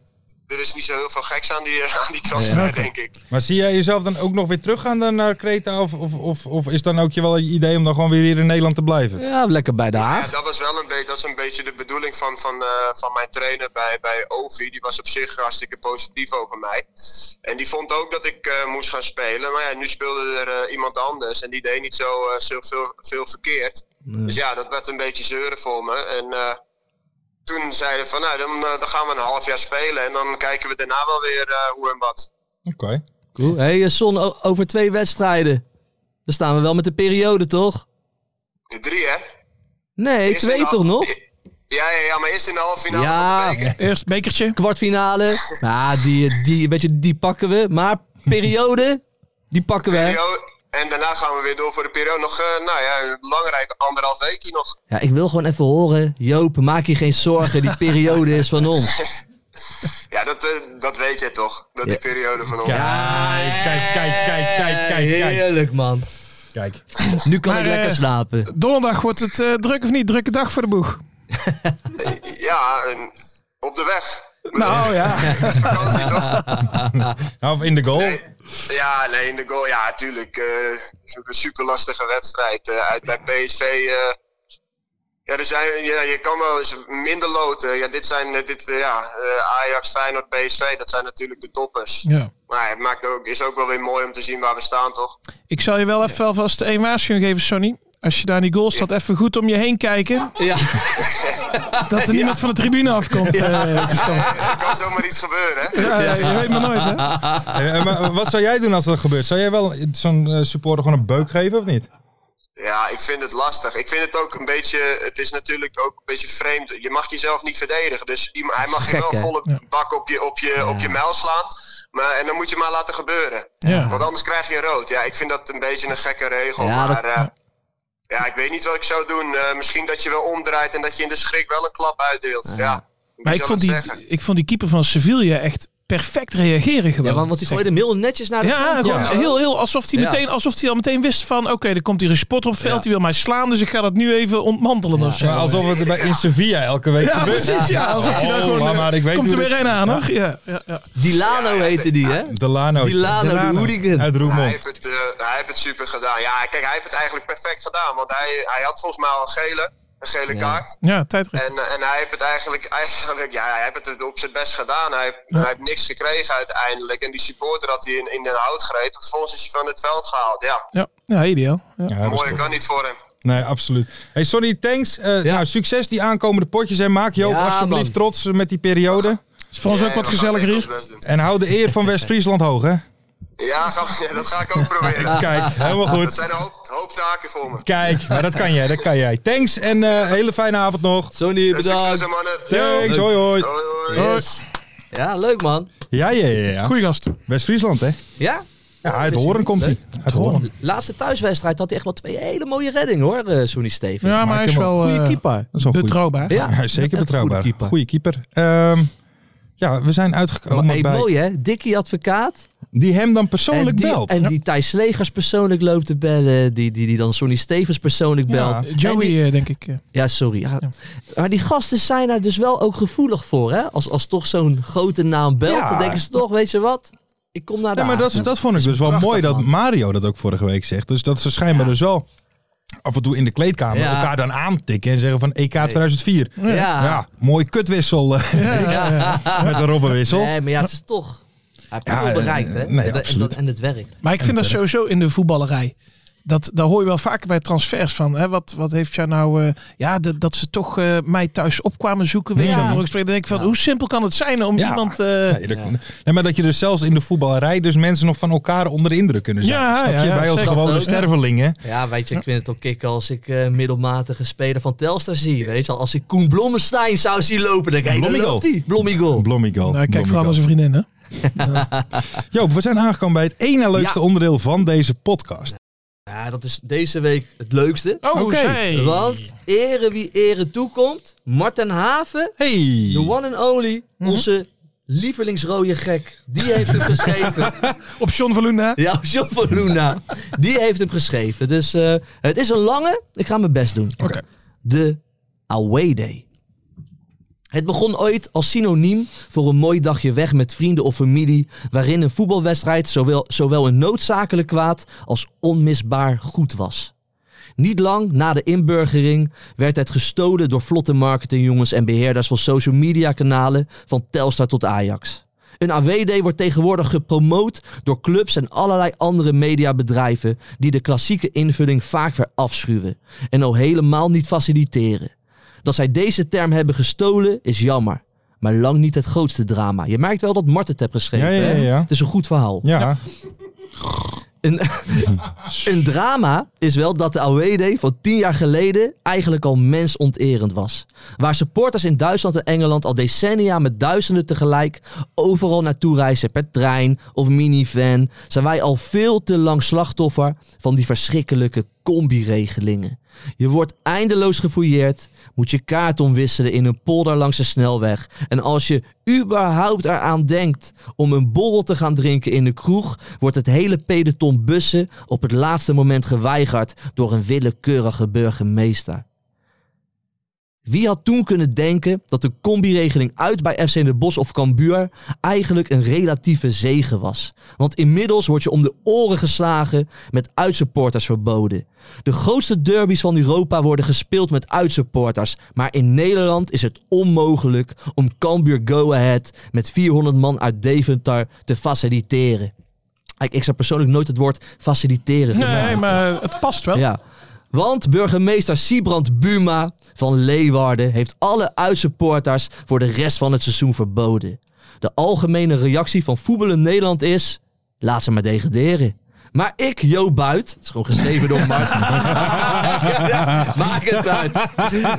Speaker 7: er is niet zo heel veel geks aan die, eh, aan die transfer,
Speaker 3: Ja, oké.
Speaker 7: denk ik.
Speaker 3: Maar zie jij jezelf dan ook nog weer teruggaan dan naar Kreta? Of, of, of, of is dan ook je wel je idee om dan gewoon weer hier in Nederland te blijven?
Speaker 4: Ja, lekker bij de
Speaker 7: Ja,
Speaker 4: Haag.
Speaker 7: dat was wel een beetje, dat is een beetje de bedoeling van, van, eh, van mijn trainer bij, bij Ovi. Die was op zich hartstikke positief over mij. En die vond ook dat ik eh, moest gaan spelen. Maar ja, nu speelde er eh, iemand anders en die deed niet zo eh, zo veel, veel verkeerd. Dus ja, dat werd een beetje zeuren voor me. En eh, toen zeiden we van, nou, dan, eh, dan gaan we een half jaar spelen. En dan kijken we daarna wel weer eh, hoe en wat.
Speaker 3: Oké.
Speaker 4: Cool. Hé, hey, eh, Son, o- over twee wedstrijden. Dan staan we wel met de periode, toch?
Speaker 7: De drie, hè?
Speaker 4: Nee,
Speaker 7: Eerst in
Speaker 4: twee
Speaker 7: de
Speaker 4: toch
Speaker 7: hal-
Speaker 4: nog?
Speaker 7: Ja, ja, ja, maar eerst in de halve finale
Speaker 4: Ja.
Speaker 7: van de beker.
Speaker 5: Eerst bekertje.
Speaker 4: Kwartfinale. Nou, die, die, weet je, die pakken we. Maar periode, die pakken we. hè?
Speaker 7: Perio- En daarna gaan we weer door voor de periode. Nog, eh, nou ja, een belangrijke anderhalf weekje nog.
Speaker 4: Ja, ik wil gewoon even horen. Joop, maak je geen zorgen. Die periode is van ons.
Speaker 7: Ja, dat, eh, dat weet jij toch? Dat
Speaker 4: Ja.
Speaker 7: die periode van ons.
Speaker 3: Kijk, kijk, kijk, kijk, kijk, kijk, kijk.
Speaker 4: Heerlijk, man.
Speaker 3: Kijk.
Speaker 4: Nu kan
Speaker 5: Maar,
Speaker 4: ik lekker
Speaker 5: eh,
Speaker 4: slapen.
Speaker 5: Donderdag wordt het eh, druk of niet? Drukke dag voor de boeg.
Speaker 7: Ja, en op de weg.
Speaker 5: Nou ja.
Speaker 7: Vakantie toch?
Speaker 3: Nou, of in de goal.
Speaker 7: Ja, nee, in de goal. Ja, tuurlijk. eh, het is ook een super lastige wedstrijd. eh, uit bij PSV. eh, ja, er zijn, ja, je kan wel eens minder loten. Ja, dit zijn eh, dit, eh, ja, eh, Ajax, Feyenoord, PSV. Dat zijn natuurlijk de toppers.
Speaker 5: ja.
Speaker 7: Maar het maakt ook, is ook wel weer mooi om te zien waar we staan, toch?
Speaker 5: Ik zal je wel even alvast één waarschuwing geven, Sonny. Als je daar in die goal staat, even goed om je heen kijken.
Speaker 4: Ja,
Speaker 5: Dat er niemand van de tribune afkomt. eh, Christophe.
Speaker 7: Er kan zomaar iets gebeuren, hè?
Speaker 5: Ja, je weet maar nooit, hè?
Speaker 3: Eh, eh, maar wat zou jij doen als dat gebeurt? Zou jij wel zo'n eh, supporter gewoon een beuk geven of niet?
Speaker 7: Ja, ik vind het lastig. Ik vind het ook een beetje. Het is natuurlijk ook een beetje vreemd. Je mag jezelf niet verdedigen. Dus die- hij mag je
Speaker 4: gek,
Speaker 7: wel
Speaker 4: hè?
Speaker 7: volle bak op je, op, je, op je mijl slaan. Maar, en dan moet je maar laten gebeuren. Want
Speaker 5: Ja.
Speaker 7: anders krijg je rood. Ja, ik vind dat een beetje een gekke regel.
Speaker 4: Ja,
Speaker 7: maar
Speaker 4: dat-
Speaker 7: eh, ja, ik weet niet wat ik zou doen. Eh, misschien dat je wel omdraait en dat je in de schrik wel een klap uitdeelt. Ja. wie
Speaker 5: Maar ik
Speaker 7: zal
Speaker 5: vond,
Speaker 7: het
Speaker 5: die,
Speaker 7: zeggen?
Speaker 5: ik vond die keeper van Sevilla echt perfect reageren gewoon.
Speaker 4: ja want, want die gooide hem heel netjes naar de
Speaker 5: Ja,
Speaker 4: kant,
Speaker 5: gewoon
Speaker 4: hoor.
Speaker 5: heel, heel alsof hij,
Speaker 4: Ja.
Speaker 5: meteen, alsof hij al meteen wist van... oké, er komt hier een spotter op het veld, die wil mij slaan... dus ik ga dat nu even ontmantelen of zo.
Speaker 3: Maar alsof het er bij in Sevilla elke week
Speaker 5: ja,
Speaker 3: gebeurt.
Speaker 5: precies, ja. Alsof hij daar
Speaker 3: Oh,
Speaker 5: gewoon... eh,
Speaker 3: maar, maar ik weet
Speaker 5: komt er
Speaker 3: hoe
Speaker 5: weer
Speaker 3: dit-
Speaker 5: een aan,
Speaker 3: Ja.
Speaker 5: hoor. Ja, ja, ja.
Speaker 4: Dilano heette die, hè?
Speaker 3: Delano.
Speaker 4: Dilano, de hooligan.
Speaker 3: Uit
Speaker 7: Hij
Speaker 3: Roermond.
Speaker 7: heeft, het, eh, hij heeft het super gedaan. Ja, kijk, hij heeft het eigenlijk perfect gedaan. Want hij, hij had volgens mij al een gele, een gele kaart.
Speaker 5: ja tijdrit.
Speaker 7: En, eh, en hij heeft het eigenlijk, eigenlijk ja, hij heeft het op zijn best gedaan. Hij, hij heeft niks gekregen uiteindelijk. En die supporter had hij in, in de hout gereden. Vervolgens is hij van het veld gehaald. Ja,
Speaker 5: Ja, ja ideaal. Ja.
Speaker 3: Ja, dat is
Speaker 7: mooier
Speaker 3: top.
Speaker 7: kan niet voor hem.
Speaker 3: Nee, absoluut. Hey, sorry, thanks. Eh,
Speaker 4: Ja.
Speaker 3: Nou, succes die aankomende potjes. En maak Joop
Speaker 4: Ja,
Speaker 3: alsjeblieft
Speaker 4: man.
Speaker 3: trots eh, met die periode.
Speaker 5: Is voor ons
Speaker 7: Nee,
Speaker 5: ook wat
Speaker 7: we gaan
Speaker 5: gezelliger
Speaker 7: echt
Speaker 5: hier.
Speaker 7: ons best doen.
Speaker 3: En hou de eer van West-Friesland hoog, hè?
Speaker 7: Ja, ga- *laughs* ja, dat ga ik ook proberen.
Speaker 3: Kijk, helemaal
Speaker 7: Dat
Speaker 3: goed.
Speaker 7: zijn een hoop, hoop taken voor me.
Speaker 3: Kijk, maar dat kan jij, dat kan jij. Thanks en eh, hele fijne avond nog.
Speaker 4: Sony,
Speaker 7: Succes,
Speaker 4: bedankt.
Speaker 7: hè, mannen.
Speaker 3: Thanks, hoi hoi.
Speaker 7: Hoi, hoi.
Speaker 4: Yes. Ja, leuk, man.
Speaker 3: Ja, ja, ja. ja.
Speaker 5: Goeie gast.
Speaker 3: West-Friesland, hè?
Speaker 4: Ja?
Speaker 3: Ja, uit Horen komt hij. Uit Horen.
Speaker 4: Laatste thuiswedstrijd had hij echt wel twee hele mooie reddingen, hoor, eh Sony Stevens.
Speaker 5: Ja, maar hij is
Speaker 3: hem
Speaker 5: wel
Speaker 4: Goeie
Speaker 5: eh,
Speaker 4: keeper.
Speaker 3: Dat is wel goed.
Speaker 5: betrouwbaar.
Speaker 4: Ja,
Speaker 3: Hij is zeker
Speaker 4: echt
Speaker 3: betrouwbaar.
Speaker 4: Goede keeper.
Speaker 3: Goeie keeper. Ehm, ja, we zijn uitgekomen
Speaker 4: Maar, hey,
Speaker 3: bij...
Speaker 4: mooi, hè? Dikkie advocaat.
Speaker 3: Die hem dan
Speaker 4: En
Speaker 3: persoonlijk
Speaker 4: die,
Speaker 3: belt.
Speaker 4: en die Thijs Slegers persoonlijk loopt te bellen. Die, die, die dan Sonny Stevens persoonlijk belt.
Speaker 3: Ja.
Speaker 5: Eh, Joey,
Speaker 4: En
Speaker 5: eh, denk ik. eh.
Speaker 4: Ja, sorry. Ja. Maar die gasten zijn daar dus wel ook gevoelig voor, hè? Als, als toch zo'n grote naam belt,
Speaker 3: Ja.
Speaker 4: dan denken ze toch, weet je wat? Ik kom naar de
Speaker 3: Ja, maar dat,
Speaker 4: Haag.
Speaker 3: dat vond ik dus wel
Speaker 4: prachtig,
Speaker 3: mooi dat
Speaker 4: man.
Speaker 3: Mario dat ook vorige week zegt. Dus dat ze schijnbaar dus wel af en toe in de kleedkamer
Speaker 4: Ja.
Speaker 3: elkaar dan aantikken en zeggen van E EK 2004.
Speaker 4: Ja.
Speaker 3: Ja, mooi kutwissel eh, *laughs* met een robbenwissel.
Speaker 4: Nee, maar ja, het is toch... Hij heeft
Speaker 3: Ja,
Speaker 4: veel bereikt, hè?
Speaker 3: eh, nee,
Speaker 4: en, dat- en,
Speaker 3: absoluut.
Speaker 4: dat, en het werkt.
Speaker 5: Maar ik vind dat sowieso in de voetballerij. Dat, daar hoor je wel vaker bij transfers van. Hè? Wat, wat heeft jou nou... eh, ja, dat- dat ze toch eh, mij thuis opkwamen zoeken. Weet je
Speaker 3: Ja.
Speaker 5: wel, vorige gesprek. Dan denk ik van, hoe simpel kan het zijn om
Speaker 3: Ja.
Speaker 5: iemand... eh,
Speaker 3: Nee, dat- nee, maar dat je dus zelfs in de voetballerij dus mensen nog van elkaar onder de indruk kunnen zijn.
Speaker 5: Ja,
Speaker 3: Snap
Speaker 5: ja,
Speaker 3: je?
Speaker 5: ja,
Speaker 3: Bij ons
Speaker 5: zeker.
Speaker 3: gewone
Speaker 4: Dat ook, ja.
Speaker 3: stervelingen.
Speaker 4: Ja, weet je, ik vind het ook kicken als ik eh, middelmatige speler van Telstar zie. Weet je, wel. als ik Koen Blommestein zou zien lopen, dan denk ik, hey, daar
Speaker 3: Blommigol.
Speaker 4: loopt hij. Blommigol.
Speaker 3: Blommigol.
Speaker 5: nou, kijk vooral
Speaker 3: Blommigol.
Speaker 5: naar zijn vriendin, hè?
Speaker 3: Joop, we zijn aangekomen bij het ene leukste
Speaker 4: Ja.
Speaker 3: onderdeel van deze podcast.
Speaker 4: Ja, dat is deze week het leukste.
Speaker 5: Oh,
Speaker 3: Oké.
Speaker 5: zij.
Speaker 4: Want ere wie ere toekomt, Marten Haven,
Speaker 3: Hey!
Speaker 4: the one and only, onze lievelingsrode gek, die heeft hem geschreven.
Speaker 5: Op John van Luna.
Speaker 4: *laughs* Ja, John van Luna, die heeft hem geschreven. Dus eh, het is een lange, ik ga mijn best doen.
Speaker 3: Oké.
Speaker 4: De Away Day. Het begon ooit als synoniem voor een mooi dagje weg met vrienden of familie, waarin een voetbalwedstrijd zowel, zowel een noodzakelijk kwaad als onmisbaar goed was. Niet lang na de inburgering werd het gestolen door vlotte marketingjongens en beheerders van social media kanalen van Telstar tot Ajax. Een AWD wordt tegenwoordig gepromoot door clubs en allerlei andere mediabedrijven die de klassieke invulling vaak weer afschuwen en al helemaal niet faciliteren. Dat zij deze term hebben gestolen is jammer, maar lang niet het grootste drama. Je merkt wel dat Mart het hebt geschreven.
Speaker 3: Ja, ja, ja,
Speaker 4: hè?
Speaker 3: ja.
Speaker 4: Het is een goed verhaal.
Speaker 3: Ja.
Speaker 4: Een, een drama is wel dat de Awede van tien jaar geleden eigenlijk al mensonterend was. Waar supporters in Duitsland en Engeland al decennia met duizenden tegelijk overal naartoe reizen per trein of minivan, zijn wij al veel te lang slachtoffer van die verschrikkelijke combi-regelingen. Je wordt eindeloos gefouilleerd, moet je kaart omwisselen in een polder langs de snelweg. En als je überhaupt eraan denkt om een borrel te gaan drinken in de kroeg, wordt het hele peloton bussen op het laatste moment geweigerd door een willekeurige burgemeester. Wie had toen kunnen denken dat de combiregeling uit bij FC De Bosch of Cambuur eigenlijk een relatieve zegen was? Want inmiddels word je om de oren geslagen met uitsupporters verboden. De grootste derbies van Europa worden gespeeld met uitsupporters, maar in Nederland is het onmogelijk om Cambuur Go Ahead met 400 man uit Deventer te faciliteren. Ik, ik zou persoonlijk nooit het woord faciliteren
Speaker 5: Nee,
Speaker 4: gebruiken.
Speaker 5: maar het past wel.
Speaker 4: Ja. Want burgemeester Siebrand Buma van Leeuwarden heeft alle uitsupporters voor de rest van het seizoen verboden. De algemene reactie van voetballen Nederland is: laat ze maar degraderen. Maar ik, Jo Buit, het is gewoon geschreven door Martin. *laughs* Maak het uit.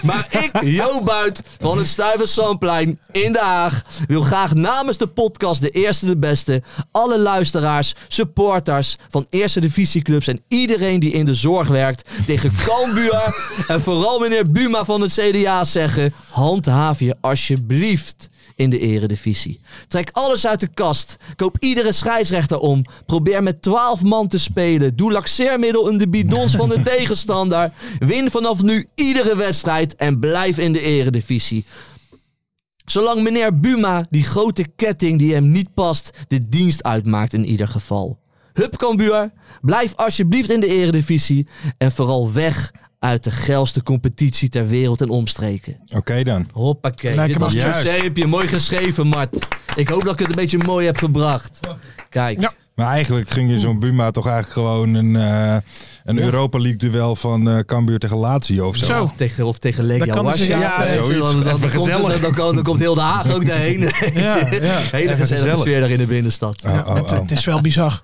Speaker 4: Maar ik, Jo Buit van het Stuyvesantplein in Den Haag, wil graag namens de podcast De Eerste de Beste alle luisteraars, supporters van Eerste Divisieclubs en iedereen die in de zorg werkt tegen Cambuur en vooral meneer Buma van het CDA zeggen: handhaaf je alsjeblieft in de eredivisie. Trek alles uit de kast. Koop iedere scheidsrechter om. Probeer met 12 man te spelen. Doe laxeermiddel in de bidons van de tegenstander. Win vanaf nu iedere wedstrijd en blijf in de eredivisie. Zolang meneer Buma, die grote ketting die hem niet past, de dienst uitmaakt in ieder geval. Hup Cambuur, blijf alsjeblieft in de eredivisie en vooral weg uit de geilste competitie ter wereld en omstreken.
Speaker 3: Oké dan.
Speaker 4: Hoppakee.
Speaker 5: Lekker
Speaker 4: Dit was
Speaker 3: man.
Speaker 4: José, heb je mooi geschreven, Mart. Ik hoop dat ik het een beetje mooi heb gebracht. Kijk.
Speaker 5: Ja.
Speaker 3: Maar eigenlijk ging je zo'n Buma toch eigenlijk gewoon een, eh, een Europa League duel van eh Cambuur tegen Lazio of zo.
Speaker 5: Zo.
Speaker 4: Of tegen, of tegen Legia
Speaker 5: Dat kan
Speaker 4: Warschau.
Speaker 5: dus, ja,
Speaker 4: weet je, Dan,
Speaker 3: zoiets.
Speaker 4: dan,
Speaker 3: Even
Speaker 4: dan, komt,
Speaker 3: gezellig.
Speaker 4: dan, dan, dan komt heel de Haag ook *laughs* daarheen. weet je.
Speaker 5: Ja, ja.
Speaker 4: Hele gezellige
Speaker 3: gezellig.
Speaker 4: sfeer daar in de binnenstad.
Speaker 3: Oh, oh,
Speaker 5: Het,
Speaker 3: oh.
Speaker 5: het is wel bizar.
Speaker 4: *laughs*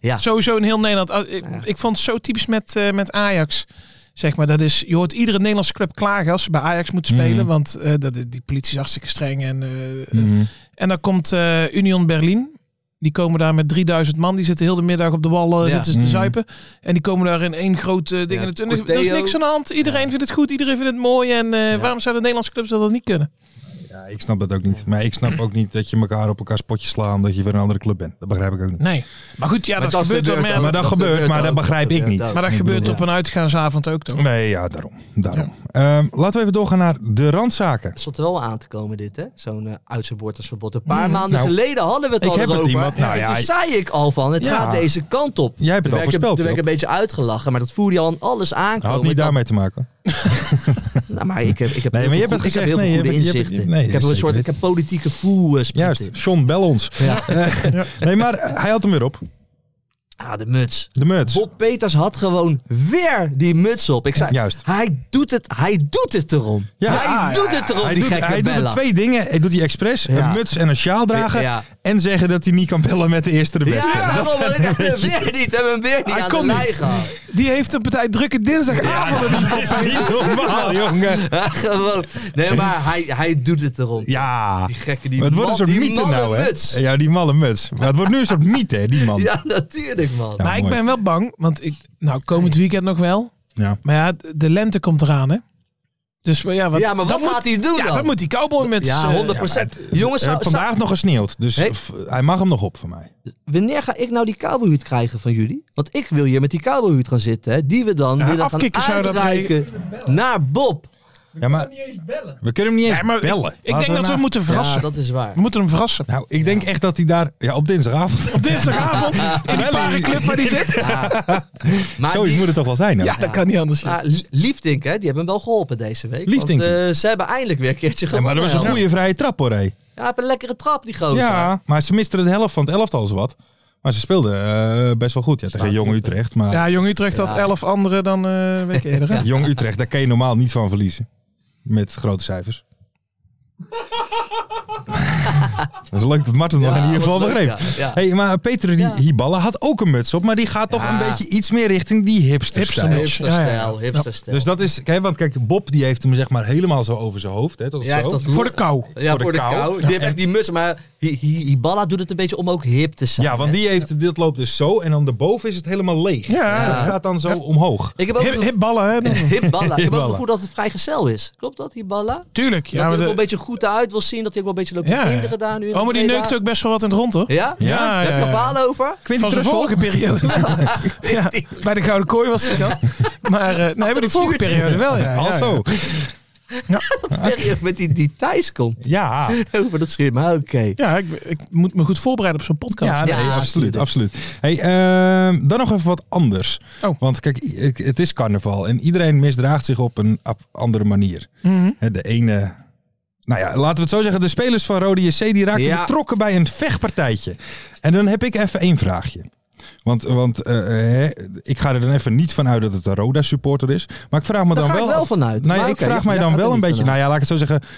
Speaker 4: Ja.
Speaker 5: Sowieso in heel Nederland. Ah, Ik, ik vond het zo typisch met, eh, met Ajax. Zeg maar, dat is, je hoort iedere Nederlandse club klagen als ze bij Ajax moet spelen.
Speaker 3: Mhm.
Speaker 5: Want eh, dat, die politie is hartstikke streng. En, eh,
Speaker 3: Mhm.
Speaker 5: en dan komt eh, Union Berlin. Die komen daar met 3000 man. Die zitten heel de middag op de wallen
Speaker 4: Ja.
Speaker 5: zitten ze te
Speaker 3: Mhm.
Speaker 5: zuipen. En die komen daar in één groot eh, ding.
Speaker 4: Ja,
Speaker 5: en er er is
Speaker 4: Corteo.
Speaker 5: niks aan de hand. Iedereen vindt het goed. Iedereen vindt het mooi. En eh,
Speaker 4: Ja.
Speaker 5: waarom zouden Nederlandse clubs dat niet kunnen?
Speaker 3: Ja, ik snap dat ook niet. Maar ik snap ook niet dat je elkaar op elkaar spotje slaat omdat je voor een andere club bent. Dat begrijp ik ook niet.
Speaker 5: Nee. Maar goed, ja,
Speaker 4: Maar
Speaker 5: dat, gebeurt wel.
Speaker 4: ook.
Speaker 5: Maar,
Speaker 3: Maar dat gebeurt, maar dat
Speaker 4: ook.
Speaker 3: begrijp ik
Speaker 4: gebeurt
Speaker 3: niet.
Speaker 4: ook.
Speaker 5: maar dat
Speaker 3: Ik
Speaker 5: gebeurt
Speaker 3: bedoel,
Speaker 5: op een uitgaansavond ook toch?
Speaker 3: Nee, ja, daarom. daarom. Ehm, laten we even doorgaan naar de randzaken.
Speaker 4: Het zat er wel aan te komen dit, hè? Zo'n uh, uitzendbordersverbod. Een paar maanden
Speaker 3: Nou,
Speaker 4: geleden hadden we het
Speaker 3: ik
Speaker 4: al
Speaker 3: heb het
Speaker 4: erover.
Speaker 3: iemand- nou ja,
Speaker 4: en toen
Speaker 3: ik-
Speaker 4: zei ik al van, het
Speaker 3: Ja.
Speaker 4: gaat deze kant op.
Speaker 3: Jij
Speaker 4: Toen
Speaker 3: hebt het al
Speaker 4: werd ik-
Speaker 3: voorspeld,
Speaker 4: Toen werd ik een beetje uitgelachen, maar dat voerde je al aan alles
Speaker 3: Dat
Speaker 4: aankomen.
Speaker 3: had niet
Speaker 4: Dat-
Speaker 3: daarmee te maken.
Speaker 4: Nou, maar ik heb, ik heb
Speaker 3: Nee,
Speaker 4: heel
Speaker 3: maar je
Speaker 4: veel goed- ik
Speaker 3: hebt
Speaker 4: heb heel
Speaker 3: gezegd,
Speaker 4: veel
Speaker 3: nee, je
Speaker 4: goede
Speaker 3: hebt- je hebt-
Speaker 4: inzichten.
Speaker 3: nee,
Speaker 4: ik heb een
Speaker 3: zeker
Speaker 4: soort ik
Speaker 3: weten.
Speaker 4: heb politieke voel eh, spieten.
Speaker 3: Juist, John, bel ons. *laughs* Eh,
Speaker 4: Ja.
Speaker 3: Nee, maar hij had hem weer op.
Speaker 4: Ah, de muts.
Speaker 3: De muts.
Speaker 4: Bob Peters had gewoon weer die muts op. Ik zei,
Speaker 3: Juist.
Speaker 4: Hij doet het, hij doet het erom.
Speaker 3: Ja.
Speaker 4: hij
Speaker 3: Ah,
Speaker 4: doet het erom,
Speaker 3: Hij
Speaker 4: die
Speaker 3: doet,
Speaker 4: gekke
Speaker 3: hij doet
Speaker 4: Bella.
Speaker 3: er twee dingen. Hij doet die expres,
Speaker 4: Ja.
Speaker 3: een muts en een sjaal dragen.
Speaker 4: Ja.
Speaker 3: En zeggen dat hij niet kan bellen met de eerste de beste.
Speaker 4: Ja, daarom, ik heb hem weer niet, hebben hem weer niet
Speaker 5: Hij
Speaker 4: aan de
Speaker 5: kon
Speaker 4: lijn
Speaker 5: niet.
Speaker 4: gehad.
Speaker 5: Die heeft een partij drukke dinsdagavond.
Speaker 3: dat is niet
Speaker 4: *laughs*
Speaker 3: normaal, jongen.
Speaker 4: Ja, gewoon. Nee, maar hij, hij doet het erom.
Speaker 3: Ja.
Speaker 4: Die gekke, die
Speaker 3: Maar het wordt
Speaker 4: man-
Speaker 3: een soort
Speaker 4: die
Speaker 3: mythe
Speaker 4: malle
Speaker 3: nou, hè?
Speaker 4: muts.
Speaker 3: Ja, die malle muts. Maar het wordt nu een soort mythe, hè, die man.
Speaker 4: Ja, natuurlijk. man.
Speaker 3: Ja,
Speaker 5: maar ik
Speaker 3: mooi.
Speaker 5: ben wel bang, want ik, nou, komend weekend nog wel.
Speaker 3: Ja.
Speaker 5: Maar ja, d- de lente komt eraan, hè? Dus ja, wat,
Speaker 4: ja, maar wat
Speaker 5: dat
Speaker 4: gaat hij doen
Speaker 5: moet, ja,
Speaker 4: dan?
Speaker 5: dat moet die cowboy met
Speaker 4: Ja,
Speaker 5: z'n-
Speaker 4: 100 Jongens,
Speaker 3: Er
Speaker 4: zou-
Speaker 3: heeft Eh, vandaag nog gesneeuwd, dus
Speaker 4: Hey.
Speaker 3: f- hij mag hem nog op van mij.
Speaker 4: wanneer ga ik nou die cowboyhoed krijgen van jullie? Want ik wil hier met die cowboyhoed gaan zitten, hè, die we dan
Speaker 5: Ja,
Speaker 4: willen gaan
Speaker 5: afkikken zou dat
Speaker 4: uitreiken naar Bob.
Speaker 3: Ja, maar we kunnen hem niet eens
Speaker 5: Ja, maar ik-
Speaker 3: bellen.
Speaker 5: Ik denk dat we moeten verrassen.
Speaker 4: Ja, dat is waar.
Speaker 5: We moeten hem verrassen.
Speaker 3: Nou, ik denk echt dat hij daar ja, op dinsdagavond.
Speaker 5: Op dinsdagavond, in die parenclub
Speaker 4: *laughs*
Speaker 5: waar die zit.
Speaker 4: Maar
Speaker 3: Zoiets
Speaker 4: Ah, die-
Speaker 3: moet het toch wel zijn? Hè?
Speaker 5: Ja, dat kan niet anders. ja.
Speaker 4: maar Lie- Liefdink, hè, die hebben hem wel geholpen deze week.
Speaker 3: Liefdink.
Speaker 4: Want, eh, ze hebben eindelijk weer een keertje
Speaker 3: Ja,
Speaker 4: gewonnen.
Speaker 3: maar dat was een goede vrije trap hoor. Hé.
Speaker 4: Ja, hij heeft een lekkere trap, die gozer.
Speaker 3: Ja, maar ze misten de helft van het elftal wat. Maar ze speelden eh, best wel goed. Ja, tegen Jong Utrecht. Maar
Speaker 5: Ja, Jong Utrecht had
Speaker 4: Ja.
Speaker 5: elf anderen dan eh week eerder. hè?
Speaker 3: Jong Utrecht, daar kan je normaal niet van verliezen. Met grote
Speaker 4: *laughs*
Speaker 3: cijfers. dat is leuk dat Martin dat in ieder geval
Speaker 4: wat leuk,
Speaker 3: begreep.
Speaker 4: ja, ja.
Speaker 3: Hey, maar Peter die
Speaker 4: Ja.
Speaker 3: Hiballa had ook een muts op, maar die gaat toch
Speaker 4: Ja.
Speaker 3: een beetje iets meer richting die hipster stijl.
Speaker 4: Hipsterstijl, hipsterstijl.
Speaker 3: Dus dat is, kijk, want kijk, Bob die heeft hem zeg maar helemaal zo over zijn hoofd. Hè, tot
Speaker 4: Ja,
Speaker 3: zo.
Speaker 4: dat-
Speaker 5: Voor de kou.
Speaker 4: Ja, voor, de, kou. Die heeft echt die muts, maar Hi- Hi- Hiballa doet het een beetje om ook hip te zijn.
Speaker 3: Ja, want
Speaker 4: hè.
Speaker 3: die heeft, dit loopt dus zo en dan daarboven is het helemaal leeg.
Speaker 5: Ja.
Speaker 3: Dat staat dan zo omhoog.
Speaker 4: Ik heb ook
Speaker 5: Hip,
Speaker 4: een- *laughs*
Speaker 5: hip ballen, hè? dan.
Speaker 4: Hibballa. Ik heb ook
Speaker 3: Hibballa.
Speaker 4: het gevoel dat het vrijgezel is. Klopt dat, Hibballa?
Speaker 5: Tuurlijk.
Speaker 4: Ja, dat
Speaker 5: Ja,
Speaker 4: hij
Speaker 5: maar
Speaker 4: er wel een
Speaker 5: de-
Speaker 4: beetje goed uit wil zien. Dat hij ook wel een beetje loopt
Speaker 5: Ja.
Speaker 4: te kinderen daar nu. in
Speaker 5: oh, maar die
Speaker 4: Breda.
Speaker 5: neukt ook best wel wat in het rond, hoor.
Speaker 4: Ja?
Speaker 3: Ja,
Speaker 4: Daar heb je nog verhalen over?
Speaker 5: Van de vorige periode wel. *laughs* ja, bij de Gouden Kooi was het dat. Maar, eh nee, maar die vorige
Speaker 4: vuurtje.
Speaker 5: periode wel, Oh, ja. ja,
Speaker 3: Al
Speaker 5: ja.
Speaker 3: zo.
Speaker 4: Serieus, Met die, die Thijs komt *laughs*
Speaker 3: Ja.
Speaker 4: over dat scherm. Maar oké.
Speaker 5: Ja, ik, ik moet me goed voorbereiden op zo'n podcast.
Speaker 3: Ja, nee,
Speaker 4: Ja,
Speaker 3: absoluut,
Speaker 4: tuurlijk.
Speaker 3: absoluut. Hey, ehm, dan nog even wat anders.
Speaker 5: Oh.
Speaker 3: Want kijk, i- ik- het is carnaval en iedereen misdraagt zich op een ap- andere manier.
Speaker 5: Mhm.
Speaker 3: Hè, De ene... Nou ja, laten we het zo zeggen. De spelers van Rode JC die raakten
Speaker 4: Ja.
Speaker 3: betrokken bij een vechtpartijtje. En dan heb ik even één vraagje. Want, want eh, hè, ik ga er dan even niet van uit dat het een Roda supporter is. Maar ik vraag me
Speaker 4: Daar
Speaker 3: dan
Speaker 4: ga
Speaker 3: wel...
Speaker 4: ik wel vanuit.
Speaker 3: Nou, ja,
Speaker 4: Maar
Speaker 3: ik
Speaker 4: oké,
Speaker 3: vraag
Speaker 4: jij
Speaker 3: mij dan
Speaker 4: gaat er
Speaker 3: wel een
Speaker 4: niet
Speaker 3: beetje.
Speaker 4: vanuit.
Speaker 3: Nou ja, laat ik het zo zeggen.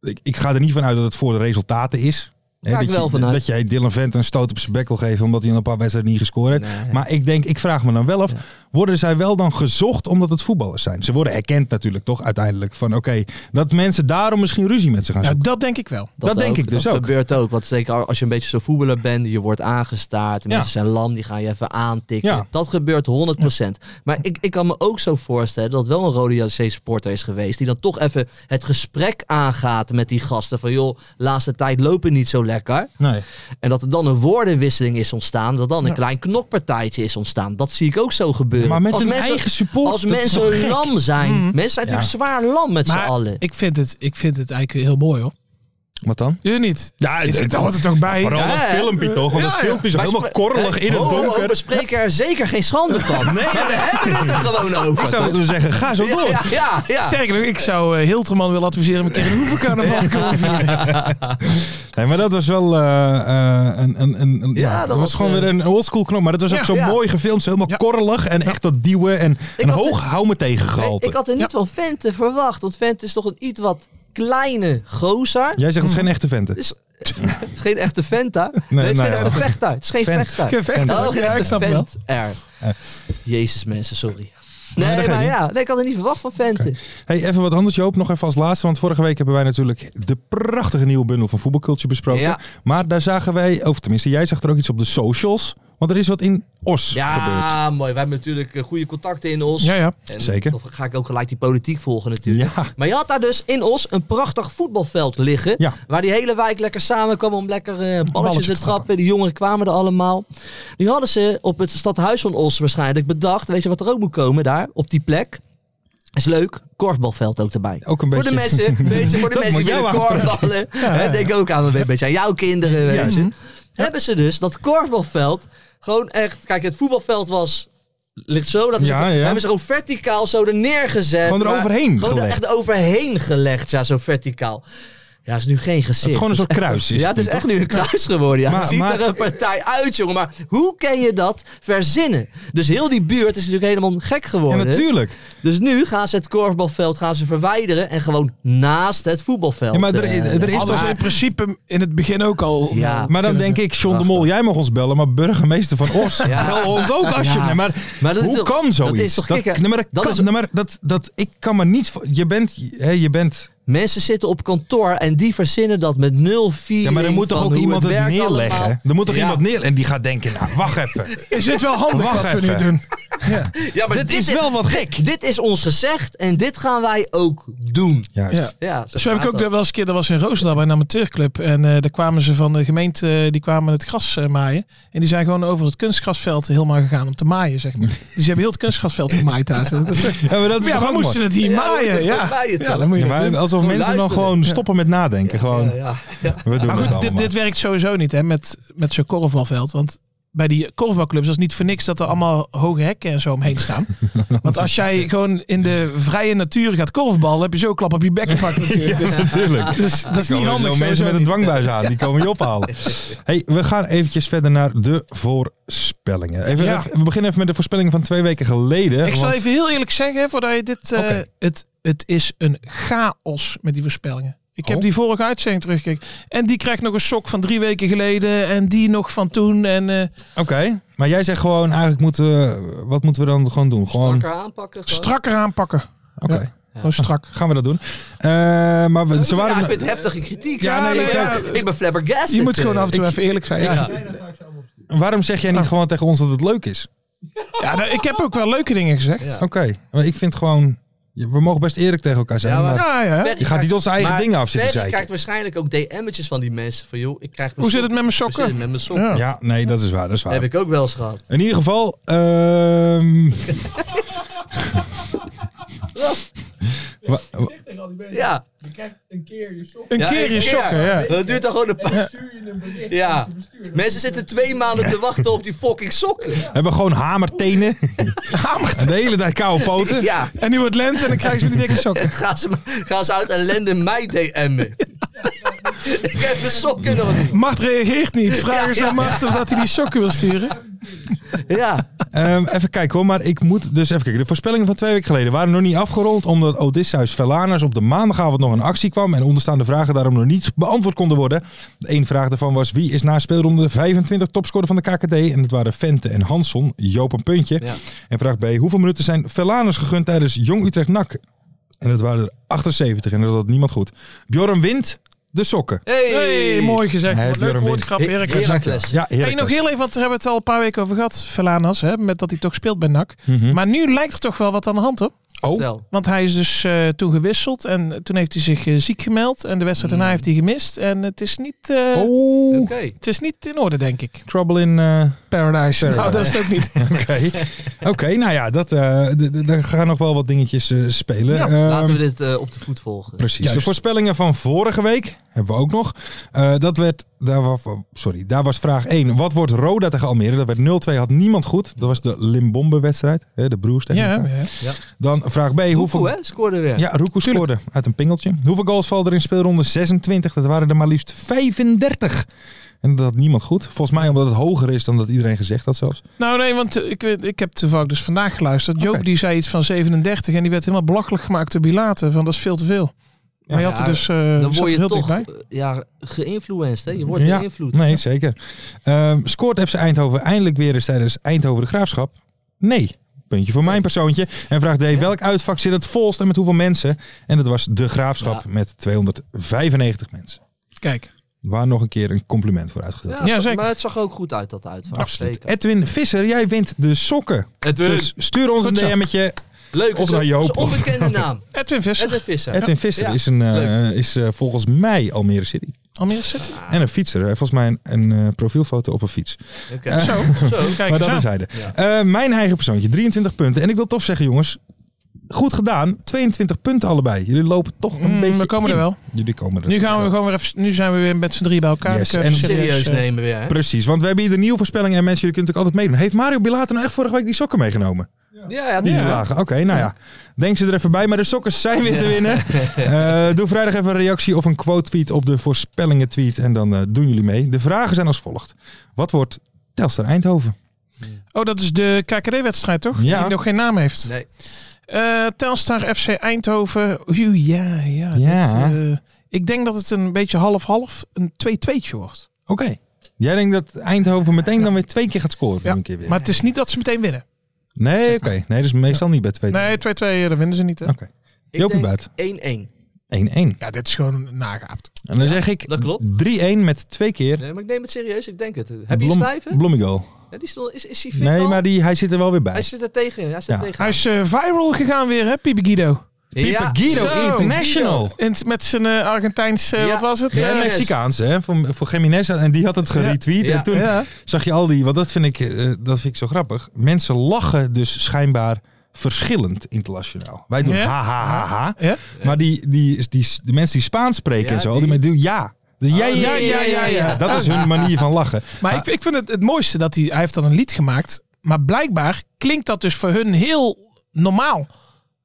Speaker 3: Ik, ik ga er niet vanuit dat het voor de resultaten is. Hè,
Speaker 4: Ga ik
Speaker 3: dat,
Speaker 4: wel
Speaker 3: je,
Speaker 4: vanuit.
Speaker 3: dat jij Dylan Vent een stoot op zijn bek wil geven omdat hij in een paar wedstrijden niet gescoord heeft.
Speaker 4: Nee.
Speaker 3: Maar ik denk, ik vraag me dan wel af, worden zij wel dan gezocht omdat het voetballers zijn? Ze worden erkend natuurlijk toch uiteindelijk van oké, dat mensen daarom misschien ruzie met ze gaan
Speaker 5: Nou,
Speaker 3: zoeken.
Speaker 5: dat denk ik wel.
Speaker 3: dat denk ik dus
Speaker 4: dat
Speaker 3: ook.
Speaker 4: gebeurt ook. Want zeker als je een beetje zo'n voetballer bent, je wordt aangestaard, de
Speaker 3: Ja.
Speaker 4: mensen zijn lam, die gaan je even aantikken.
Speaker 3: Ja.
Speaker 4: Dat gebeurt 100%. Maar ik, ik kan me ook zo voorstellen dat wel een Rode JC supporter is geweest, die dan toch even het gesprek aangaat met die gasten van joh, laatste tijd lopen niet zo lekker.
Speaker 3: Nee.
Speaker 4: En dat er dan een woordenwisseling is ontstaan, dat dan een klein knokpartijtje is ontstaan. Dat zie ik ook zo gebeuren.
Speaker 3: Maar met
Speaker 4: als
Speaker 3: hun
Speaker 4: mensen,
Speaker 3: eigen support.
Speaker 4: als
Speaker 3: dat is toch
Speaker 4: mensen
Speaker 3: gek? Mhm.
Speaker 4: lam zijn, mensen zijn
Speaker 3: Ja.
Speaker 4: natuurlijk zwaar lam met z'n
Speaker 5: Maar
Speaker 4: allen.
Speaker 5: ik vind, het, ik vind het eigenlijk heel mooi, hoor.
Speaker 3: Wat dan?
Speaker 5: Je niet?
Speaker 3: Ja,
Speaker 5: Dat hoort er toch bij?
Speaker 3: Vooral dat filmpje toch, want
Speaker 5: Ja,
Speaker 3: dat
Speaker 5: ja.
Speaker 3: filmpje is
Speaker 4: Wij
Speaker 3: helemaal
Speaker 4: spre-
Speaker 3: korrelig in het
Speaker 4: Ho, ho,
Speaker 3: donker.
Speaker 4: Oh, We spreken er zeker geen schande
Speaker 3: *laughs*
Speaker 4: van. Nee, *laughs* we hebben het er gewoon over.
Speaker 3: Ik zou dus zeggen, ga zo door.
Speaker 4: Ja, ja, ja.
Speaker 5: Sterker nog, ik zou eh, Hilterman willen adviseren om een keer in de hoevencarnaval te komen vieren.
Speaker 3: Nee, maar dat was wel eh, eh, een, een, een, een-
Speaker 4: Ja,
Speaker 3: ja,
Speaker 4: dat
Speaker 3: dat was,
Speaker 4: was,
Speaker 3: gewoon
Speaker 4: eh,
Speaker 3: weer een oldschool knop. Maar dat was
Speaker 5: Ja,
Speaker 3: ook zo
Speaker 4: ja.
Speaker 3: mooi gefilmd, zo helemaal korrelig en echt dat duwen en een
Speaker 4: had
Speaker 3: hoog hou me tegen
Speaker 4: Nee,
Speaker 3: gehalte.
Speaker 4: ik had er niet van Vente verwacht. Want Vente is toch een iets wat kleine gozer.
Speaker 3: Jij zegt het is geen echte venten.
Speaker 4: Dus- Het is geen echte Venta. Nee, het is
Speaker 3: nou
Speaker 4: geen
Speaker 3: ja.
Speaker 4: echte vechter. Het is geen
Speaker 3: Vent.
Speaker 4: vechter.
Speaker 3: Geen vechter.
Speaker 4: Oh, geen
Speaker 3: Ja, ik
Speaker 4: echte
Speaker 3: snap het wel.
Speaker 4: vent er. Jezus mensen, sorry.
Speaker 3: dat
Speaker 4: Nee,
Speaker 3: geeft
Speaker 4: maar
Speaker 3: niet.
Speaker 4: ja. Nee, ik had er niet verwacht van Vente.
Speaker 3: Hey, even wat anders Joop, nog even als laatste. Want vorige week hebben wij natuurlijk de prachtige nieuwe bundel van voetbalculture besproken.
Speaker 4: Ja.
Speaker 3: Maar daar zagen wij, of tenminste jij zag er ook iets op de socials. Want er is wat in Os gebeurd.
Speaker 4: Ja, mooi. We hebben natuurlijk eh, goede contacten in ons.
Speaker 5: Ja, ja.
Speaker 4: En
Speaker 3: Zeker.
Speaker 4: Dan ga ik ook gelijk die politiek volgen natuurlijk.
Speaker 3: Ja.
Speaker 4: Maar je had daar dus in Os een prachtig voetbalveld liggen.
Speaker 3: Ja.
Speaker 4: Waar die hele wijk lekker samen kwam om lekker eh, balletjes te trappen. Die jongeren kwamen er allemaal. Nu hadden ze op het stadhuis van Os waarschijnlijk bedacht. Weet je wat er ook moet komen daar op die plek? Is leuk. Korfbalveld ook erbij.
Speaker 3: Ook een
Speaker 4: voor de
Speaker 3: beetje-
Speaker 4: mensen. *laughs* Weet je, voor de
Speaker 3: Dat
Speaker 4: mensen die
Speaker 3: moet jou
Speaker 4: willen
Speaker 3: aanspreken.
Speaker 4: korfballen.
Speaker 3: *laughs*
Speaker 4: Hè, Denk ook aan een beetje aan jouw kinderen. Weet je. Hebben ze dus dat korfbalveld gewoon echt... Kijk, het voetbalveld was... Ligt zo, dat is
Speaker 3: Ja,
Speaker 4: gewoon-
Speaker 3: ja.
Speaker 4: hebben ze gewoon verticaal zo er neergezet.
Speaker 3: Gewoon er
Speaker 4: maar-
Speaker 3: overheen
Speaker 4: Gewoon er
Speaker 3: gelegd.
Speaker 4: echt overheen gelegd, ja, zo verticaal. Ja, is nu geen gezicht.
Speaker 3: Het is gewoon een soort kruis. Is
Speaker 4: Ja, het is echt nu een kruis geworden. Ja.
Speaker 3: Maar-
Speaker 4: het ziet
Speaker 3: maar-
Speaker 4: er een partij uit, jongen. Maar hoe kan je dat verzinnen? Dus heel die buurt is natuurlijk helemaal gek
Speaker 3: Ja,
Speaker 4: geworden.
Speaker 3: natuurlijk.
Speaker 4: Dus nu gaan ze het korfbalveld gaan ze verwijderen en gewoon naast het voetbalveld.
Speaker 3: Ja, maar er-
Speaker 4: eh,
Speaker 3: er is
Speaker 4: leggen.
Speaker 3: toch
Speaker 5: Hadden ze
Speaker 3: Maar-
Speaker 5: in principe in het begin ook al...
Speaker 4: Ja.
Speaker 3: Maar dan denk ik, John de Mol, jij mag ons bellen, maar burgemeester van Os,
Speaker 4: Ja.
Speaker 3: bel ons ook als je...
Speaker 4: Ja.
Speaker 3: Nee, maar,
Speaker 4: Maar dat is
Speaker 3: hoe
Speaker 4: toch-
Speaker 3: kan
Speaker 4: dat
Speaker 3: zoiets?
Speaker 4: is toch gek, hè?
Speaker 3: nee, maar dat,
Speaker 4: Dat
Speaker 3: kan-
Speaker 4: is-
Speaker 3: nee, maar dat, dat, ik kan me niet... voor- Je bent, hè, je bent
Speaker 4: Mensen zitten op kantoor en die verzinnen dat met nul vier.
Speaker 3: Ja, maar er moet toch ook iemand het neerleggen? Er moet toch
Speaker 8: Ja.
Speaker 3: iemand neerleggen? En die gaat denken, nou, *laughs* wacht even.
Speaker 5: *laughs* Is dit wel handig
Speaker 3: Wacht
Speaker 5: wat we nu
Speaker 3: even.
Speaker 5: doen?
Speaker 4: Ja, maar
Speaker 3: dit, is wel wat gek.
Speaker 4: Dit is ons gezegd en dit gaan wij ook doen.
Speaker 5: Ja.
Speaker 4: Ja,
Speaker 5: Zo heb ik
Speaker 4: gaat
Speaker 5: ook
Speaker 4: dat.
Speaker 5: wel eens een keer, dat was in Roosendaal bij een amateurclub. En eh, daar kwamen ze van de gemeente, eh, die kwamen het gras eh, maaien. En die zijn gewoon over het kunstgrasveld helemaal gegaan om te maaien, zeg maar. Dus die hebben heel het kunstgrasveld gemaaid daar. zo. Dat-
Speaker 3: Ja, maar dat is
Speaker 5: Ja,
Speaker 3: toch
Speaker 5: we
Speaker 3: ook
Speaker 5: moesten
Speaker 3: mooi?
Speaker 5: het hier
Speaker 4: Ja, we
Speaker 5: maaien.
Speaker 4: moeten het
Speaker 5: Ja,
Speaker 4: maaien,
Speaker 5: Ja,
Speaker 4: toch?
Speaker 5: dan moet je
Speaker 3: Ja,
Speaker 5: dat
Speaker 3: maar
Speaker 5: doen.
Speaker 3: alsof
Speaker 4: Gewoon
Speaker 3: mensen dan
Speaker 4: luisteren.
Speaker 3: gewoon stoppen met nadenken. Gewoon,
Speaker 4: Ja, ja.
Speaker 3: we doen
Speaker 5: Maar
Speaker 3: het
Speaker 5: goed, dit,
Speaker 3: allemaal.
Speaker 5: dit werkt sowieso niet hè, met, met zo'n korfbalveld. Want bij die korfbalclubs dat is niet voor niks dat er allemaal hoge hekken en zo omheen staan. want als jij gewoon in de vrije natuur gaat korfballen, heb je zo klap op je bek gepakt natuurlijk. Dus-
Speaker 3: *laughs* Natuurlijk.
Speaker 5: *laughs* Dus dat is
Speaker 3: Er
Speaker 5: niet
Speaker 3: komen
Speaker 5: handig.
Speaker 3: zo mensen met
Speaker 5: sowieso
Speaker 3: een
Speaker 5: niet.
Speaker 3: dwangbuis aan, die komen je
Speaker 5: *laughs*
Speaker 3: ophalen. Hey, we gaan eventjes verder naar de voorspellingen. Even,
Speaker 5: Ja.
Speaker 3: even- we beginnen even met de voorspellingen van twee weken geleden.
Speaker 5: Ik zal
Speaker 3: want-
Speaker 5: even heel eerlijk zeggen, voordat je dit... eh,
Speaker 3: Oké.
Speaker 5: het, het is een chaos met die voorspellingen. Ik heb
Speaker 3: Oh.
Speaker 5: die vorige uitzending teruggekeken. En die krijgt nog een sok van drie weken geleden. En die nog van toen. En eh,
Speaker 3: Oké, maar jij zegt gewoon eigenlijk moeten we, wat moeten we dan gewoon doen? Gewoon,
Speaker 4: Strakker aanpakken. gewoon.
Speaker 5: strakker aanpakken.
Speaker 3: Oké,
Speaker 5: Gewoon strak.
Speaker 3: gaan we dat doen. Eh, maar we, ze waren...
Speaker 4: Ja, ik vind het heftige kritiek.
Speaker 3: Ja, nee, ik ook.
Speaker 4: ik ben flabbergasted.
Speaker 5: Je moet gewoon
Speaker 4: eh.
Speaker 5: af en toe even eerlijk zijn.
Speaker 4: Ja.
Speaker 3: Waarom zeg
Speaker 4: Ah.
Speaker 3: jij niet gewoon tegen ons dat het leuk is?
Speaker 5: Ja, nou, ik heb ook wel leuke dingen gezegd.
Speaker 4: Ja.
Speaker 5: Ja,
Speaker 3: Oké, maar ik vind gewoon... We mogen best eerlijk tegen elkaar zijn,
Speaker 4: Ja, maar-
Speaker 3: maar...
Speaker 5: ja.
Speaker 4: Ferry
Speaker 3: Je gaat niet onze eigen
Speaker 4: maar
Speaker 3: dingen af zitten
Speaker 4: Ferry
Speaker 3: zeiken.
Speaker 4: krijgt waarschijnlijk ook DM'tjes van die mensen. Van joh, ik krijg mijn
Speaker 5: Hoe zit het
Speaker 4: sokken.
Speaker 5: met mijn
Speaker 4: Hoe zit het
Speaker 5: sokken?
Speaker 4: met mijn sokken?
Speaker 3: Ja,
Speaker 5: Ja.
Speaker 3: nee, dat is waar, dat is
Speaker 4: Heb
Speaker 3: waar.
Speaker 4: ik ook wel eens gehad.
Speaker 3: In ieder geval,
Speaker 4: *laughs*
Speaker 3: ehm, *laughs* wa- wa-
Speaker 4: Ja.
Speaker 5: Een
Speaker 4: Ja,
Speaker 5: keer
Speaker 4: een
Speaker 5: je
Speaker 4: keer.
Speaker 5: sokken, ja.
Speaker 4: Dat duurt dan gewoon een paar... Ja. Mensen zitten twee maanden te wachten op die fucking sokken.
Speaker 3: hebben we gewoon hamertenen. De hele tijd koude poten.
Speaker 4: Ja.
Speaker 5: En nu wordt lente en dan krijgen ze die dikke sokken.
Speaker 4: Gaan ze, gaan ze uit ellende mij DM'en. *laughs* ik heb mijn sokken nog niet.
Speaker 5: Mart reageert niet. Vraag eens
Speaker 4: Ja,
Speaker 5: aan
Speaker 4: ja.
Speaker 5: Mart of dat hij die sokken wil sturen.
Speaker 4: Ja.
Speaker 3: Ehm, even kijken hoor, maar ik moet dus even kijken. De voorspellingen van twee weken geleden waren nog niet afgerond omdat Odysseus Velaners op de maandagavond nog in actie kwam en onderstaande vragen daarom nog niet beantwoord konden worden. Eén vraag daarvan was wie is na speelronde 25 topscorer van de KKD en dat waren Vente en Hansson, Joop een puntje.
Speaker 4: Ja.
Speaker 3: En vraag B, hoeveel minuten zijn Velaners gegund tijdens Jong Utrecht NAC? En dat waren er 78 en dat had niemand goed. Bjorn wint de sokken.
Speaker 4: Hey.
Speaker 5: hey, mooi gezegd.
Speaker 3: Hey,
Speaker 5: Wat Leuk
Speaker 3: Björn
Speaker 5: woordgrap,
Speaker 4: wint.
Speaker 5: Erik.
Speaker 4: Heerlijk.
Speaker 3: Dankjewel.
Speaker 4: Heracles.
Speaker 3: Ja,
Speaker 5: Hey, nog heel even, want daar hebben we het al een paar weken over gehad, Velanas, hè, met dat hij toch speelt bij NAC.
Speaker 3: Mhm.
Speaker 5: Maar eh, nu lijkt er toch wel wat aan de hand op.
Speaker 3: Oh,
Speaker 4: Vertel.
Speaker 5: Want hij is dus eh, toen gewisseld en toen heeft hij zich eh, ziek gemeld. En de wedstrijd daarna heeft hij gemist. En het is niet, eh,
Speaker 3: oh.
Speaker 4: Oké.
Speaker 5: het is niet in orde, denk ik.
Speaker 3: trouble in... eh,
Speaker 5: Paradise. Nou, dat is het ook niet.
Speaker 3: Oké,
Speaker 5: *laughs*
Speaker 3: Oké, nou ja, dat, eh, d- d- daar gaan nog wel wat dingetjes eh, spelen.
Speaker 5: Ja,
Speaker 3: Ehm,
Speaker 4: Laten we dit eh, op de voet volgen.
Speaker 3: Precies. De
Speaker 5: Juist.
Speaker 3: voorspellingen van vorige week hebben we ook nog. Eh, dat werd, daar was, sorry, daar was vraag 1. Wat wordt Roda tegen Almere? Dat werd 0-2, had niemand goed. Dat was de Limbombe-wedstrijd, hè, de broers tegen
Speaker 5: Ja,
Speaker 3: elkaar.
Speaker 5: ja.
Speaker 3: Dan vraag B. hoeveel,
Speaker 4: Hoeveel, hè? Scoorde weer.
Speaker 3: Ja, Roekoe scoorde uit een pingeltje. Hoeveel goals vallen er in speelronde 26? Dat waren er maar liefst 35. En dat had niemand goed. Volgens mij omdat het hoger is dan dat iedereen gezegd had zelfs.
Speaker 5: Nou nee, want eh, ik, weet- ik heb toevallig dus vandaag geluisterd. Joop
Speaker 3: Oké.
Speaker 5: die zei iets van 37 en die werd helemaal belachelijk gemaakt door Bilater. Van dat is veel te veel. Maar je had er
Speaker 4: ja,
Speaker 5: dus eh,
Speaker 4: Dan
Speaker 5: zat
Speaker 4: word
Speaker 5: er
Speaker 4: je
Speaker 5: heel
Speaker 4: toch
Speaker 5: dichtbij.
Speaker 4: eh, ja, geïnfluenced, hè? Je wordt
Speaker 3: Ja,
Speaker 4: beïnvloed.
Speaker 3: Nee, zeker. Ehm, scoort FC Eindhoven eindelijk weer eens tijdens Eindhoven de Graafschap? Nee. Puntje voor mijn persoontje. En vraag D. Welk uitvak zit het volst en met hoeveel mensen? En dat was de Graafschap met 295 mensen.
Speaker 5: Kijk,
Speaker 3: Waar nog een keer een compliment voor uitgedeeld.
Speaker 4: Ja,
Speaker 3: wordt.
Speaker 5: Ja,
Speaker 4: zo-
Speaker 5: zeker.
Speaker 4: Maar het zag er ook goed uit, dat uitvaart.
Speaker 3: Absoluut.
Speaker 4: Zeker.
Speaker 3: Edwin Visser, jij wint de sokken.
Speaker 4: Edwin.
Speaker 3: Dus stuur ons een
Speaker 5: Goed zo.
Speaker 3: DM'tje.
Speaker 4: Leuk.
Speaker 3: Of
Speaker 4: is een-
Speaker 3: naar Joop,
Speaker 4: is een
Speaker 3: of-
Speaker 4: onbekende naam.
Speaker 5: Edwin Visser,
Speaker 4: Edwin Visser.
Speaker 3: Edwin Visser
Speaker 4: Ja.
Speaker 3: is, een, eh,
Speaker 4: Leuk.
Speaker 3: is eh, volgens mij Almere City.
Speaker 5: Almere
Speaker 3: *laughs*
Speaker 5: City.
Speaker 4: Ah.
Speaker 3: En een fietser. Hij heeft volgens mij een, een eh, profielfoto op een fiets.
Speaker 4: Oké.
Speaker 5: Zo,
Speaker 4: Zo.
Speaker 5: kijk
Speaker 3: maar
Speaker 5: eens
Speaker 3: dat
Speaker 5: aan.
Speaker 3: is hij Eh, mijn eigen persoontje, 23 punten. En ik wil toch zeggen, jongens, goed gedaan. 22 punten allebei. Jullie lopen toch een
Speaker 5: Mm,
Speaker 3: beetje.
Speaker 5: we komen er
Speaker 3: in.
Speaker 5: wel.
Speaker 3: Jullie komen er.
Speaker 5: Nu gaan we gewoon weer even. Nu zijn we weer met z'n drie bij elkaar.
Speaker 3: Yes,
Speaker 5: Dan
Speaker 3: en
Speaker 5: kunnen we even
Speaker 4: Serieus
Speaker 5: eh,
Speaker 4: nemen weer, hè?
Speaker 3: Precies, want we hebben hier de nieuwe voorspellingen en mensen, jullie kunnen natuurlijk altijd meedoen. Heeft Mario Bilater nou echt vorige week die sokken meegenomen?
Speaker 4: Ja, ja.
Speaker 3: Die
Speaker 4: tuurlijk.
Speaker 3: lagen. Oké, nou ja. Denk ze er even bij, maar de sokken zijn weer te
Speaker 5: *laughs*
Speaker 3: winnen. Eh, doe vrijdag even een reactie of een quote-tweet op de voorspellingen tweet en dan eh, doen jullie mee. De vragen zijn als volgt. Wat wordt Telstar Eindhoven?
Speaker 5: Oh, dat is de KKD-wedstrijd, toch?
Speaker 3: Ja.
Speaker 5: Die nog geen naam heeft.
Speaker 4: Nee.
Speaker 5: Eh, Telstar FC Eindhoven. Oeh, ja, ja.
Speaker 3: Ja.
Speaker 5: dat, eh, ik denk dat het een beetje half-half een 2-2'tje wordt.
Speaker 3: Oké. Jij denkt dat Eindhoven meteen dan weer twee keer gaat scoren.
Speaker 5: Ja,
Speaker 3: Een keer weer.
Speaker 5: Maar het is niet dat ze meteen winnen.
Speaker 3: Nee, oké. Nee, dat is meestal niet bij 2
Speaker 5: Nee, 2-2, eh, dan winnen ze niet. Hè?
Speaker 3: Oké. Joopie Buit.
Speaker 4: Ik denk 1-1.
Speaker 3: 1-1.
Speaker 5: Ja, dit is gewoon nagaafd.
Speaker 3: En dan zeg ik
Speaker 4: dat klopt.
Speaker 3: 3-1 met twee keer
Speaker 4: Nee, maar ik neem het serieus, ik denk het. Heb je
Speaker 3: Blom-
Speaker 4: een schrijven?
Speaker 3: Bloemigal.
Speaker 4: Ja, die stond, is, is hij fit
Speaker 3: Nee,
Speaker 4: al?
Speaker 3: maar die, hij zit er wel weer
Speaker 4: Hij
Speaker 3: bij.
Speaker 4: zit er tegen. Hij zit
Speaker 3: Ja.
Speaker 4: er tegen.
Speaker 5: Hij is eh, viral gegaan weer, hè, Pipe Guido.
Speaker 3: Pipa Guido
Speaker 5: zo.
Speaker 3: International.
Speaker 5: In, met zijn eh, Argentijns, eh,
Speaker 4: Ja.
Speaker 5: wat was het?
Speaker 3: Ja,
Speaker 5: Eh,
Speaker 4: Yes.
Speaker 3: Mexicaans, hè? Voor, voor Jiménez. En die had het geretweet.
Speaker 4: Ja.
Speaker 3: En toen
Speaker 5: ja.
Speaker 3: zag je al die... Want dat vind, ik, eh, dat vind ik zo grappig. Mensen lachen dus schijnbaar verschillend internationaal. Wij doen
Speaker 5: Ja.
Speaker 3: ha, ha, ha, ha.
Speaker 5: Ja.
Speaker 3: Maar die, die, die, de mensen die Spaans spreken
Speaker 4: Ja,
Speaker 3: en zo,
Speaker 4: die- Ah.
Speaker 3: die, die doen ja. Dus ja, ja, ja, ja, ja. Dat is hun manier van lachen.
Speaker 5: Maar ik, ik vind het het mooiste dat hij, hij heeft dan een lied gemaakt. Maar blijkbaar klinkt dat dus voor hun heel normaal.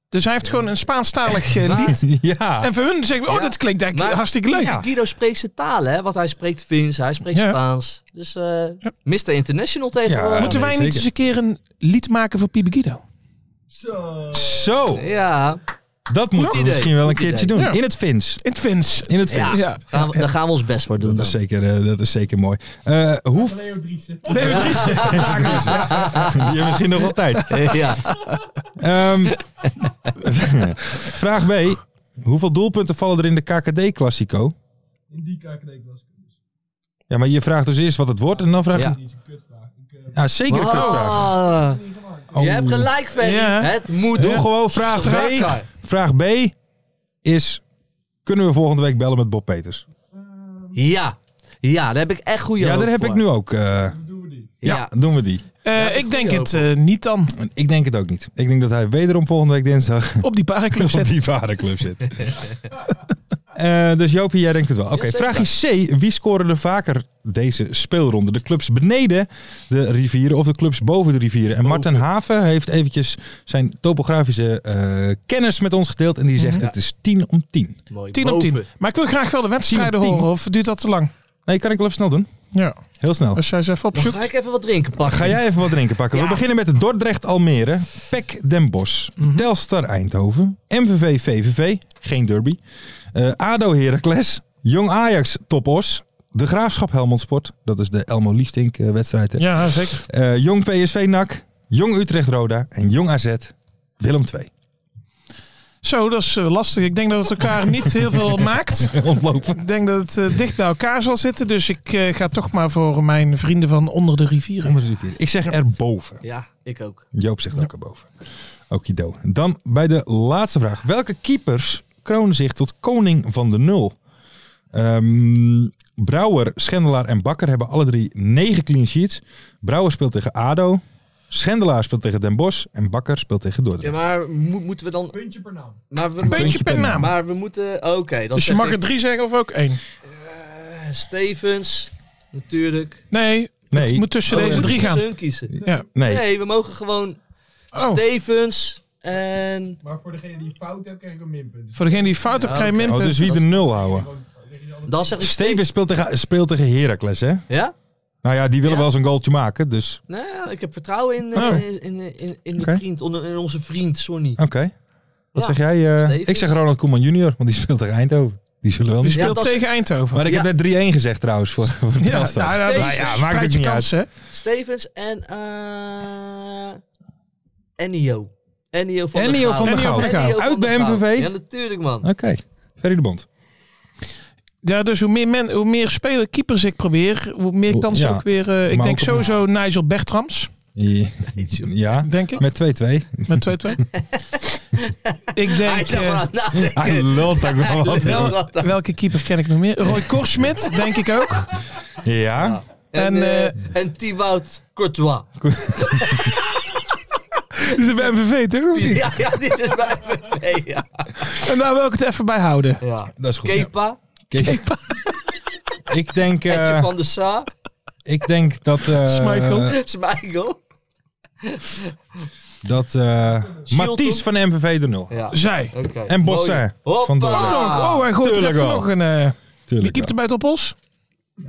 Speaker 5: Dus hij heeft gewoon een Spaanstalig eh, lied.
Speaker 3: Ah. *laughs* Ja.
Speaker 5: En voor hun zeggen we, oh,
Speaker 4: Ja.
Speaker 5: dat klinkt denk ik
Speaker 4: Maar-
Speaker 5: hartstikke leuk.
Speaker 4: Ja. Guido spreekt zijn talen, hè? Want hij spreekt Fins, hij spreekt
Speaker 5: Ja.
Speaker 4: Spaans. Dus eh Mr. International
Speaker 3: Ja.
Speaker 4: tegenwoordig.
Speaker 5: Moeten wij
Speaker 3: nee,
Speaker 5: niet
Speaker 3: zeker.
Speaker 5: eens een keer een lied maken voor Pibe Guido?
Speaker 3: Zo,
Speaker 4: Ja,
Speaker 3: dat moeten we
Speaker 4: idee,
Speaker 3: misschien wel
Speaker 4: goed
Speaker 3: een keertje
Speaker 4: idee.
Speaker 3: doen.
Speaker 5: Ja.
Speaker 3: In het Fins.
Speaker 5: In het Fins.
Speaker 3: In het
Speaker 4: ja.
Speaker 3: Fins.
Speaker 5: Ja.
Speaker 4: Gaan we, daar gaan we ons best voor doen.
Speaker 3: Dat
Speaker 4: Dan.
Speaker 3: is zeker, eh, dat is zeker mooi. Eh hoe... *laughs* Leo Die hebben we misschien nog wel tijd.
Speaker 4: ja.
Speaker 3: Ehm, vraag B. Hoeveel doelpunten vallen er in de KKD-klassico? In die KKD-klassico.
Speaker 5: dus.
Speaker 3: Ja, maar je vraagt dus eerst wat het wordt en dan vraag je...
Speaker 4: Ja.
Speaker 3: Ja,
Speaker 5: eh,
Speaker 3: zeker een kutvraag.
Speaker 4: Ah, Je
Speaker 3: Oh.
Speaker 4: hebt gelijk, Ferry.
Speaker 5: Ja.
Speaker 4: Het moet
Speaker 3: Doe
Speaker 4: doen.
Speaker 3: gewoon vraag B.
Speaker 4: Strakker.
Speaker 3: Vraag B is... Kunnen we volgende week bellen met Bob Peters?
Speaker 4: Ja. Ja, daar heb ik echt goede
Speaker 3: ja,
Speaker 4: hoop
Speaker 3: daar heb
Speaker 4: voor.
Speaker 3: ik nu ook. eh, ja,
Speaker 4: Ja.
Speaker 3: doen we die.
Speaker 5: Eh,
Speaker 4: Ja,
Speaker 5: ik denk
Speaker 4: goeie
Speaker 5: het eh, niet dan.
Speaker 3: Ik denk het ook niet. Ik denk dat hij wederom volgende week dinsdag
Speaker 5: Op die
Speaker 3: *laughs*
Speaker 5: parenclub
Speaker 3: op
Speaker 5: zetten.
Speaker 3: die vaderclub zit. *laughs* Eh, dus Jopie, jij denkt het wel. Oké,
Speaker 4: Jazeker.
Speaker 3: vraag is C. Wie scoren er vaker deze speelronde? De clubs beneden de rivieren of de clubs boven de rivieren? En Martin Haven heeft eventjes zijn topografische eh, kennis met ons gedeeld. En die zegt het is 10 om 10.
Speaker 4: Mooi.
Speaker 5: 10 op 10.
Speaker 4: boven.
Speaker 5: Maar ik wil graag wel de wedstrijden
Speaker 3: 10.
Speaker 5: horen. Of duurt dat te lang?
Speaker 3: Nee, kan ik wel even snel doen.
Speaker 5: Ja.
Speaker 3: Heel snel.
Speaker 5: Als jij ze even
Speaker 4: Dan
Speaker 5: opzoekt.
Speaker 4: ga ik even wat drinken pakken.
Speaker 3: Ga jij even wat drinken pakken? We
Speaker 4: Ja.
Speaker 3: beginnen met Dordrecht Almere, PEC Den Bosch, Telstar Eindhoven, MVV VVV, geen derby, eh, ADO Heracles, Jong Ajax Topos, De Graafschap Helmond Sport, dat is de Elmo Liefdink eh, wedstrijd, hè.
Speaker 5: Ja, zeker.
Speaker 3: Eh, Jong PSV NAC, Jong Utrecht Roda en Jong AZ Willem II.
Speaker 5: Zo, dat is eh, lastig. Ik denk dat het elkaar niet heel veel maakt.
Speaker 3: *laughs* Ontlopen.
Speaker 5: Ik denk dat het eh, dicht bij elkaar zal zitten. Dus ik eh, ga toch maar voor mijn vrienden van onder de rivieren.
Speaker 3: Onder de rivier. Ik zeg erboven.
Speaker 4: Ja, ik ook.
Speaker 3: Joop zegt ook erboven. Okido. Dan bij de laatste vraag. Welke keepers kronen zich tot koning van de nul? Ehm, Brouwer, Schendelaar en Bakker hebben alle drie negen clean sheets. Brouwer speelt tegen ADO. Schendelaar speelt tegen Den Bosch. En Bakker speelt tegen
Speaker 4: Ja,
Speaker 3: Dordrecht.
Speaker 4: maar mo- moeten we dan... Puntje per naam. Maar we,
Speaker 5: Puntje per naam.
Speaker 4: Maar we moeten... Oké, dan
Speaker 5: Dus je
Speaker 4: zeg
Speaker 5: mag
Speaker 4: ik,
Speaker 5: er drie zeggen of ook één?
Speaker 4: eh, Stevens, natuurlijk.
Speaker 5: Nee, het
Speaker 3: nee,
Speaker 5: moet tussen
Speaker 4: Oh,
Speaker 5: deze
Speaker 4: we
Speaker 5: drie
Speaker 4: moeten
Speaker 5: gaan.
Speaker 4: hun kiezen.
Speaker 5: Ja.
Speaker 3: nee.
Speaker 4: Nee. we mogen gewoon
Speaker 5: Oh,
Speaker 4: Stevens en...
Speaker 5: voor degene die fout heeft,
Speaker 4: Ja,
Speaker 5: krijg je
Speaker 4: oké.
Speaker 3: Oh,
Speaker 5: minpunten.
Speaker 3: dus wie de nul houden?
Speaker 4: Dan zeg ik
Speaker 3: Steven speelt tegen, speelt tegen Heracles, hè?
Speaker 4: Ja?
Speaker 3: Nou ja, die willen
Speaker 4: Ja.
Speaker 3: wel eens een goaltje maken. Dus
Speaker 4: Nou, ja, ik heb vertrouwen in, eh,
Speaker 3: Oh.
Speaker 4: in, in, in, in de
Speaker 3: Oké.
Speaker 4: vriend, onder- in onze vriend Sonny.
Speaker 3: oké. Wat
Speaker 4: Ja.
Speaker 3: zeg jij? eh?
Speaker 4: Steven.
Speaker 3: ik zeg Ronald Koeman junior, want die speelt tegen Eindhoven. Die zullen wel
Speaker 5: Die
Speaker 3: niet
Speaker 4: Ja,
Speaker 5: speelt
Speaker 4: dat is-
Speaker 5: tegen Eindhoven.
Speaker 3: Maar ik
Speaker 4: Ja.
Speaker 3: heb net 3-1 gezegd trouwens voor, voor de
Speaker 5: Ja, nou,
Speaker 3: Telstar.
Speaker 5: nou, dat
Speaker 3: Maar
Speaker 5: is-
Speaker 3: ja, maakt het
Speaker 5: je
Speaker 3: niet uit.
Speaker 5: kansen, hè?
Speaker 4: Stevens en eh Ennio. Ennio van
Speaker 3: Ennio
Speaker 4: der Gouw.
Speaker 3: van der Ennio Gouw. van der Gouw.
Speaker 4: Ennio
Speaker 3: Uit
Speaker 4: van der
Speaker 3: bij
Speaker 4: Gouw.
Speaker 3: MVV.
Speaker 4: Ja, natuurlijk man.
Speaker 5: nou.
Speaker 3: Oké, Ferry de Bond.
Speaker 5: Ja, dus hoe meer, men, hoe meer speler keepers ik probeer, hoe meer
Speaker 3: Hoe-
Speaker 5: kansen
Speaker 3: ja.
Speaker 5: ook weer. eh, ik
Speaker 3: Maar
Speaker 5: denk
Speaker 3: ook op-
Speaker 5: sowieso Nigel Bertrams,
Speaker 3: Ja, Ja,
Speaker 5: denk ik,
Speaker 3: met 2-2.
Speaker 5: met
Speaker 3: *laughs*
Speaker 5: 2-2. ik
Speaker 4: Hij
Speaker 5: denk,
Speaker 4: is daar maar
Speaker 5: eh,
Speaker 4: aan het nadenken.
Speaker 3: Hij lult ook wel wat.
Speaker 4: Hij lult
Speaker 3: hoor.
Speaker 4: dat aan.
Speaker 5: welke eh, keeper ken ik nog meer? Ah. Roy Korsmit, denk ik
Speaker 3: *laughs*
Speaker 5: ook.
Speaker 3: Ja,
Speaker 4: En,
Speaker 5: En,
Speaker 4: eh,
Speaker 5: eh,
Speaker 4: en Thibaut Courtois.
Speaker 5: Die is bij MVV, toch?
Speaker 4: Ja, ja, dit is bij MVV, ja.
Speaker 5: En daar wil ik het even bij houden.
Speaker 4: ja.
Speaker 3: dat is goed.
Speaker 4: Kepa,
Speaker 3: Ja. Kijk. *laughs* Ik denk, eh,
Speaker 4: Etje van der Sa, *laughs*
Speaker 3: ik denk dat, eh,
Speaker 5: Schmeichel.
Speaker 4: Smeichel.
Speaker 3: dat eh Mathies van MVV de 0.
Speaker 4: Ja,
Speaker 5: Zij.
Speaker 4: oké.
Speaker 3: En Bossin
Speaker 4: Mooi. Hoppa.
Speaker 3: van
Speaker 5: Ook nog. Oh, hij gooit er
Speaker 3: Ah, Tuurlijk
Speaker 5: even
Speaker 3: wel.
Speaker 5: nog een. eh, die
Speaker 3: Tuurlijk
Speaker 5: keept er
Speaker 3: wel.
Speaker 5: bij het op ons.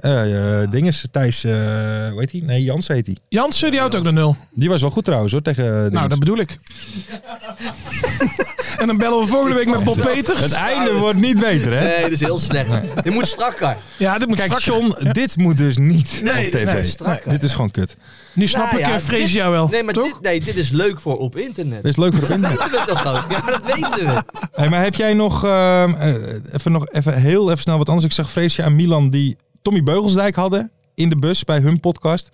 Speaker 3: Eh eh, dinges, Thijs, eh hoe heet hij? Nee, Jans heet hij.
Speaker 5: Jansen, die houdt ook de nul.
Speaker 3: Die was wel goed trouwens hoor, tegen eh,
Speaker 5: Nou,
Speaker 3: dinges.
Speaker 5: dat bedoel
Speaker 3: *laughs*
Speaker 5: ik. en dan bellen we volgende week met Bob
Speaker 3: Het
Speaker 5: Peters.
Speaker 3: einde wordt niet beter hè?
Speaker 9: Nee, dat is heel slecht. Dit moet strakker.
Speaker 5: Ja, dit moet
Speaker 3: Kijk,
Speaker 5: straks.
Speaker 3: John, dit moet dus niet op tv.
Speaker 5: nee,
Speaker 9: strakker.
Speaker 3: dit is gewoon kut.
Speaker 5: Nu snap
Speaker 9: Nou
Speaker 5: ik
Speaker 9: ja,
Speaker 5: eh,
Speaker 9: dit-
Speaker 5: Fresia wel,
Speaker 9: Nee, maar
Speaker 5: toch?
Speaker 9: dit, nee, dit is leuk voor op internet.
Speaker 3: Dit is leuk voor de internet.
Speaker 9: weten we toch ook? Ja, maar dat weten we.
Speaker 3: Hey, maar heb jij nog, ehm, eh, even nog even heel even snel wat anders? Ik zag Freesje en Milan die Tommy Beugelsdijk hadden in de bus bij hun podcast.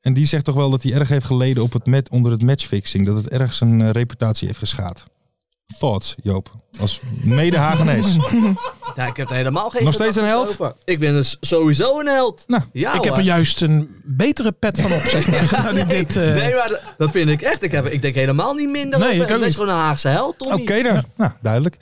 Speaker 3: En die zegt toch wel dat hij erg heeft geleden op het met, onder het matchfixing. Dat het erg zijn eh, reputatie heeft geschaad. Thoughts, Joop. Als mede
Speaker 9: *laughs*
Speaker 3: Hagenees.
Speaker 9: Ja, ik heb er helemaal geen
Speaker 3: Nog steeds een
Speaker 9: gedachtes
Speaker 3: held?
Speaker 9: over. Ik ben dus sowieso een held.
Speaker 3: Nou,
Speaker 9: ja,
Speaker 5: ik heb
Speaker 9: hoor.
Speaker 5: er juist een betere pet van op, zeg
Speaker 9: *laughs*
Speaker 5: maar. Nou, die dit, eh,
Speaker 9: Nee, maar dat- dat vind ik echt. Ik, heb, ik denk helemaal niet minder.
Speaker 5: Nee,
Speaker 9: over.
Speaker 5: ik ook
Speaker 9: ben
Speaker 5: niet.
Speaker 9: gewoon een Haagse held, Tommy.
Speaker 3: Oké dan. Nou, duidelijk.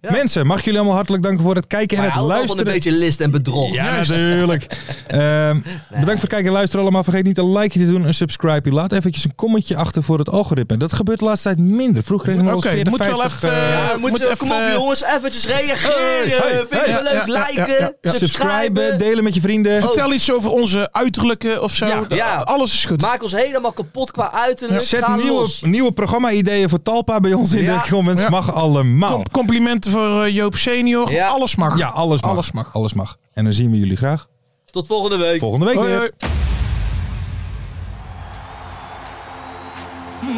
Speaker 9: Ja.
Speaker 3: Mensen, mag ik jullie allemaal hartelijk danken voor het kijken en
Speaker 9: Maar
Speaker 3: het
Speaker 9: hou wel van een
Speaker 3: luisteren.
Speaker 9: beetje list en bedrog.
Speaker 3: Ja,
Speaker 5: *laughs*
Speaker 3: natuurlijk. Ehm, Bedankt voor het kijken en luisteren allemaal. Vergeet niet een likeje te doen, een subscribe. Laat eventjes een commentje achter voor het algoritme. Dat gebeurt de laatste tijd minder. Vroeger kregen we wel eens
Speaker 5: Oké,
Speaker 3: 40,
Speaker 5: moet wel
Speaker 3: 50...
Speaker 5: even,
Speaker 3: eh,
Speaker 5: eh,
Speaker 9: Ja,
Speaker 5: Moet
Speaker 9: moet,
Speaker 5: even-
Speaker 9: kom op jongens, eventjes reageren.
Speaker 3: Hey, hey,
Speaker 9: Vind je
Speaker 3: hey.
Speaker 9: het leuk?
Speaker 5: Ja, ja, ja,
Speaker 9: Liken,
Speaker 5: ja, ja.
Speaker 3: subscriben,
Speaker 9: subscriben.
Speaker 3: delen met je vrienden.
Speaker 9: Oh.
Speaker 5: Vertel iets over onze uiterlijke of zo.
Speaker 3: Ja,
Speaker 9: ja.
Speaker 5: Alles is goed.
Speaker 9: Maak ons helemaal kapot qua uiterlijk.
Speaker 3: Zet
Speaker 9: Ga
Speaker 3: nieuwe,
Speaker 9: los.
Speaker 3: nieuwe programma-ideeën voor Talpa bij ons in
Speaker 9: Ja.
Speaker 3: de comments.
Speaker 5: Ja.
Speaker 3: Mag allemaal.
Speaker 5: Com- complimenten voor eh, Joop Senior.
Speaker 9: Ja.
Speaker 5: Alles mag.
Speaker 3: Ja, alles mag.
Speaker 5: Alles mag.
Speaker 3: Alles mag. En dan zien we jullie graag
Speaker 9: Tot volgende week.
Speaker 3: volgende week
Speaker 5: Hoi,
Speaker 3: weer.
Speaker 5: hoi.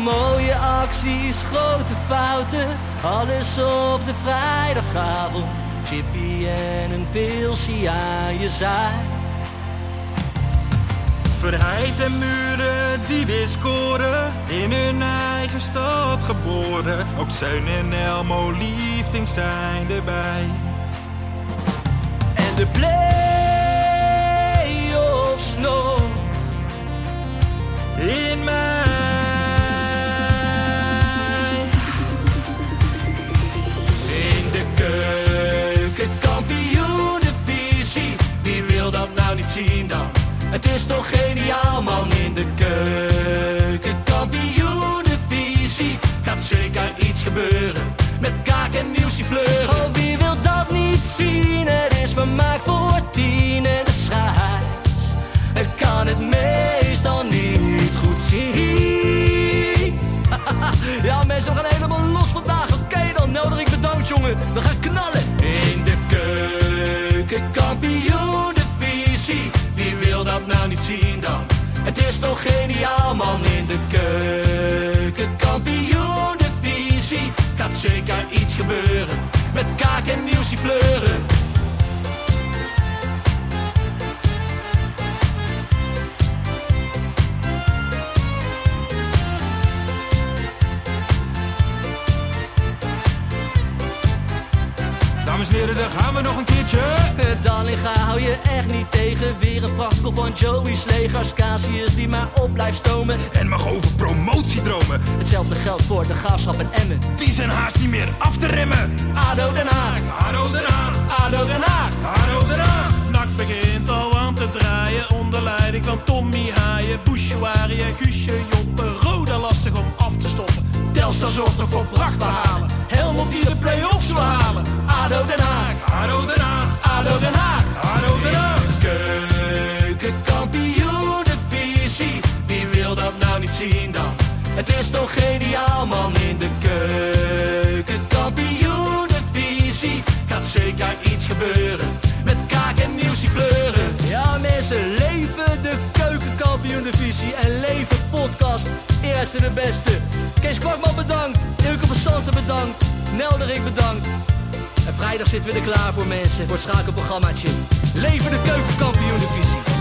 Speaker 4: Mooie acties, grote fouten, alles op de vrijdagavond. Chippy en een pilsie aan je zaai.
Speaker 10: Verheid en muren die weer scoren, in hun eigen stad geboren. Ook Zijn en Elmo liefding zijn erbij.
Speaker 4: En de play-offs nog.
Speaker 10: In mij.
Speaker 4: In de keuken, kampioenenvisie. Wie wil dat nou niet zien dan? Het is toch geniaal man in de keuken, kampioenenvisie. Gaat zeker iets gebeuren met kaak en nieuwsje fleuren. Oh, wie wil dat niet zien? Het is vermaakt voor tien en de scheids. Ik kan het meestal niet goed zien. Ja, mensen, we gaan helemaal los vandaag. Oké, dan nodig ik de dood, jongen. We gaan knallen. In de keuken, kampioen, de visie. Wie wil dat nou niet zien dan? Het is toch geniaal, man. In de keuken, kampioen, de visie. Gaat zeker iets gebeuren. Met kaak en nieuwsie fleuren.
Speaker 10: Dames en heren, daar gaan we nog een keertje.
Speaker 4: Eh, Dallinga hou je echt niet tegen. Weer een prachtkel van Joey's legers. Casius die maar op blijft stomen.
Speaker 10: En mag over promotiedromen,
Speaker 4: Hetzelfde geldt voor de gaafschap en Emmen.
Speaker 10: die zijn haast niet meer af te remmen.
Speaker 4: ADO Den Haag,
Speaker 10: Haro eraan,
Speaker 4: ADO Den Haag.
Speaker 10: haro eraan.
Speaker 4: Nak begint al aan te draaien onder leiding van Tommy Haaien, Bouchouari en Guusje Joppen. Roda lastig om af te stoppen. Telstar zorgt nog voor pracht te halen. Helmond die de play-offs wil halen. ADO Den Haag, ADO Den Haag, ADO Den Haag, ADO Den Haag. Keukenkampioenenvisie, wie wil dat nou niet zien dan? Het is toch geniaal man in de keukenkampioenenvisie. Gaat zeker iets gebeuren, met kaak en nieuwsie fleuren. Ja mensen, leven de keukenkampioenenvisie en leven podcast. Eerste de beste. Kees Kwakman bedankt, Ilke van Santen bedankt, Nelderik bedankt. En vrijdag zitten we er klaar voor mensen, voor het schakelprogrammaatje. Leven de keukenkampioen divisie.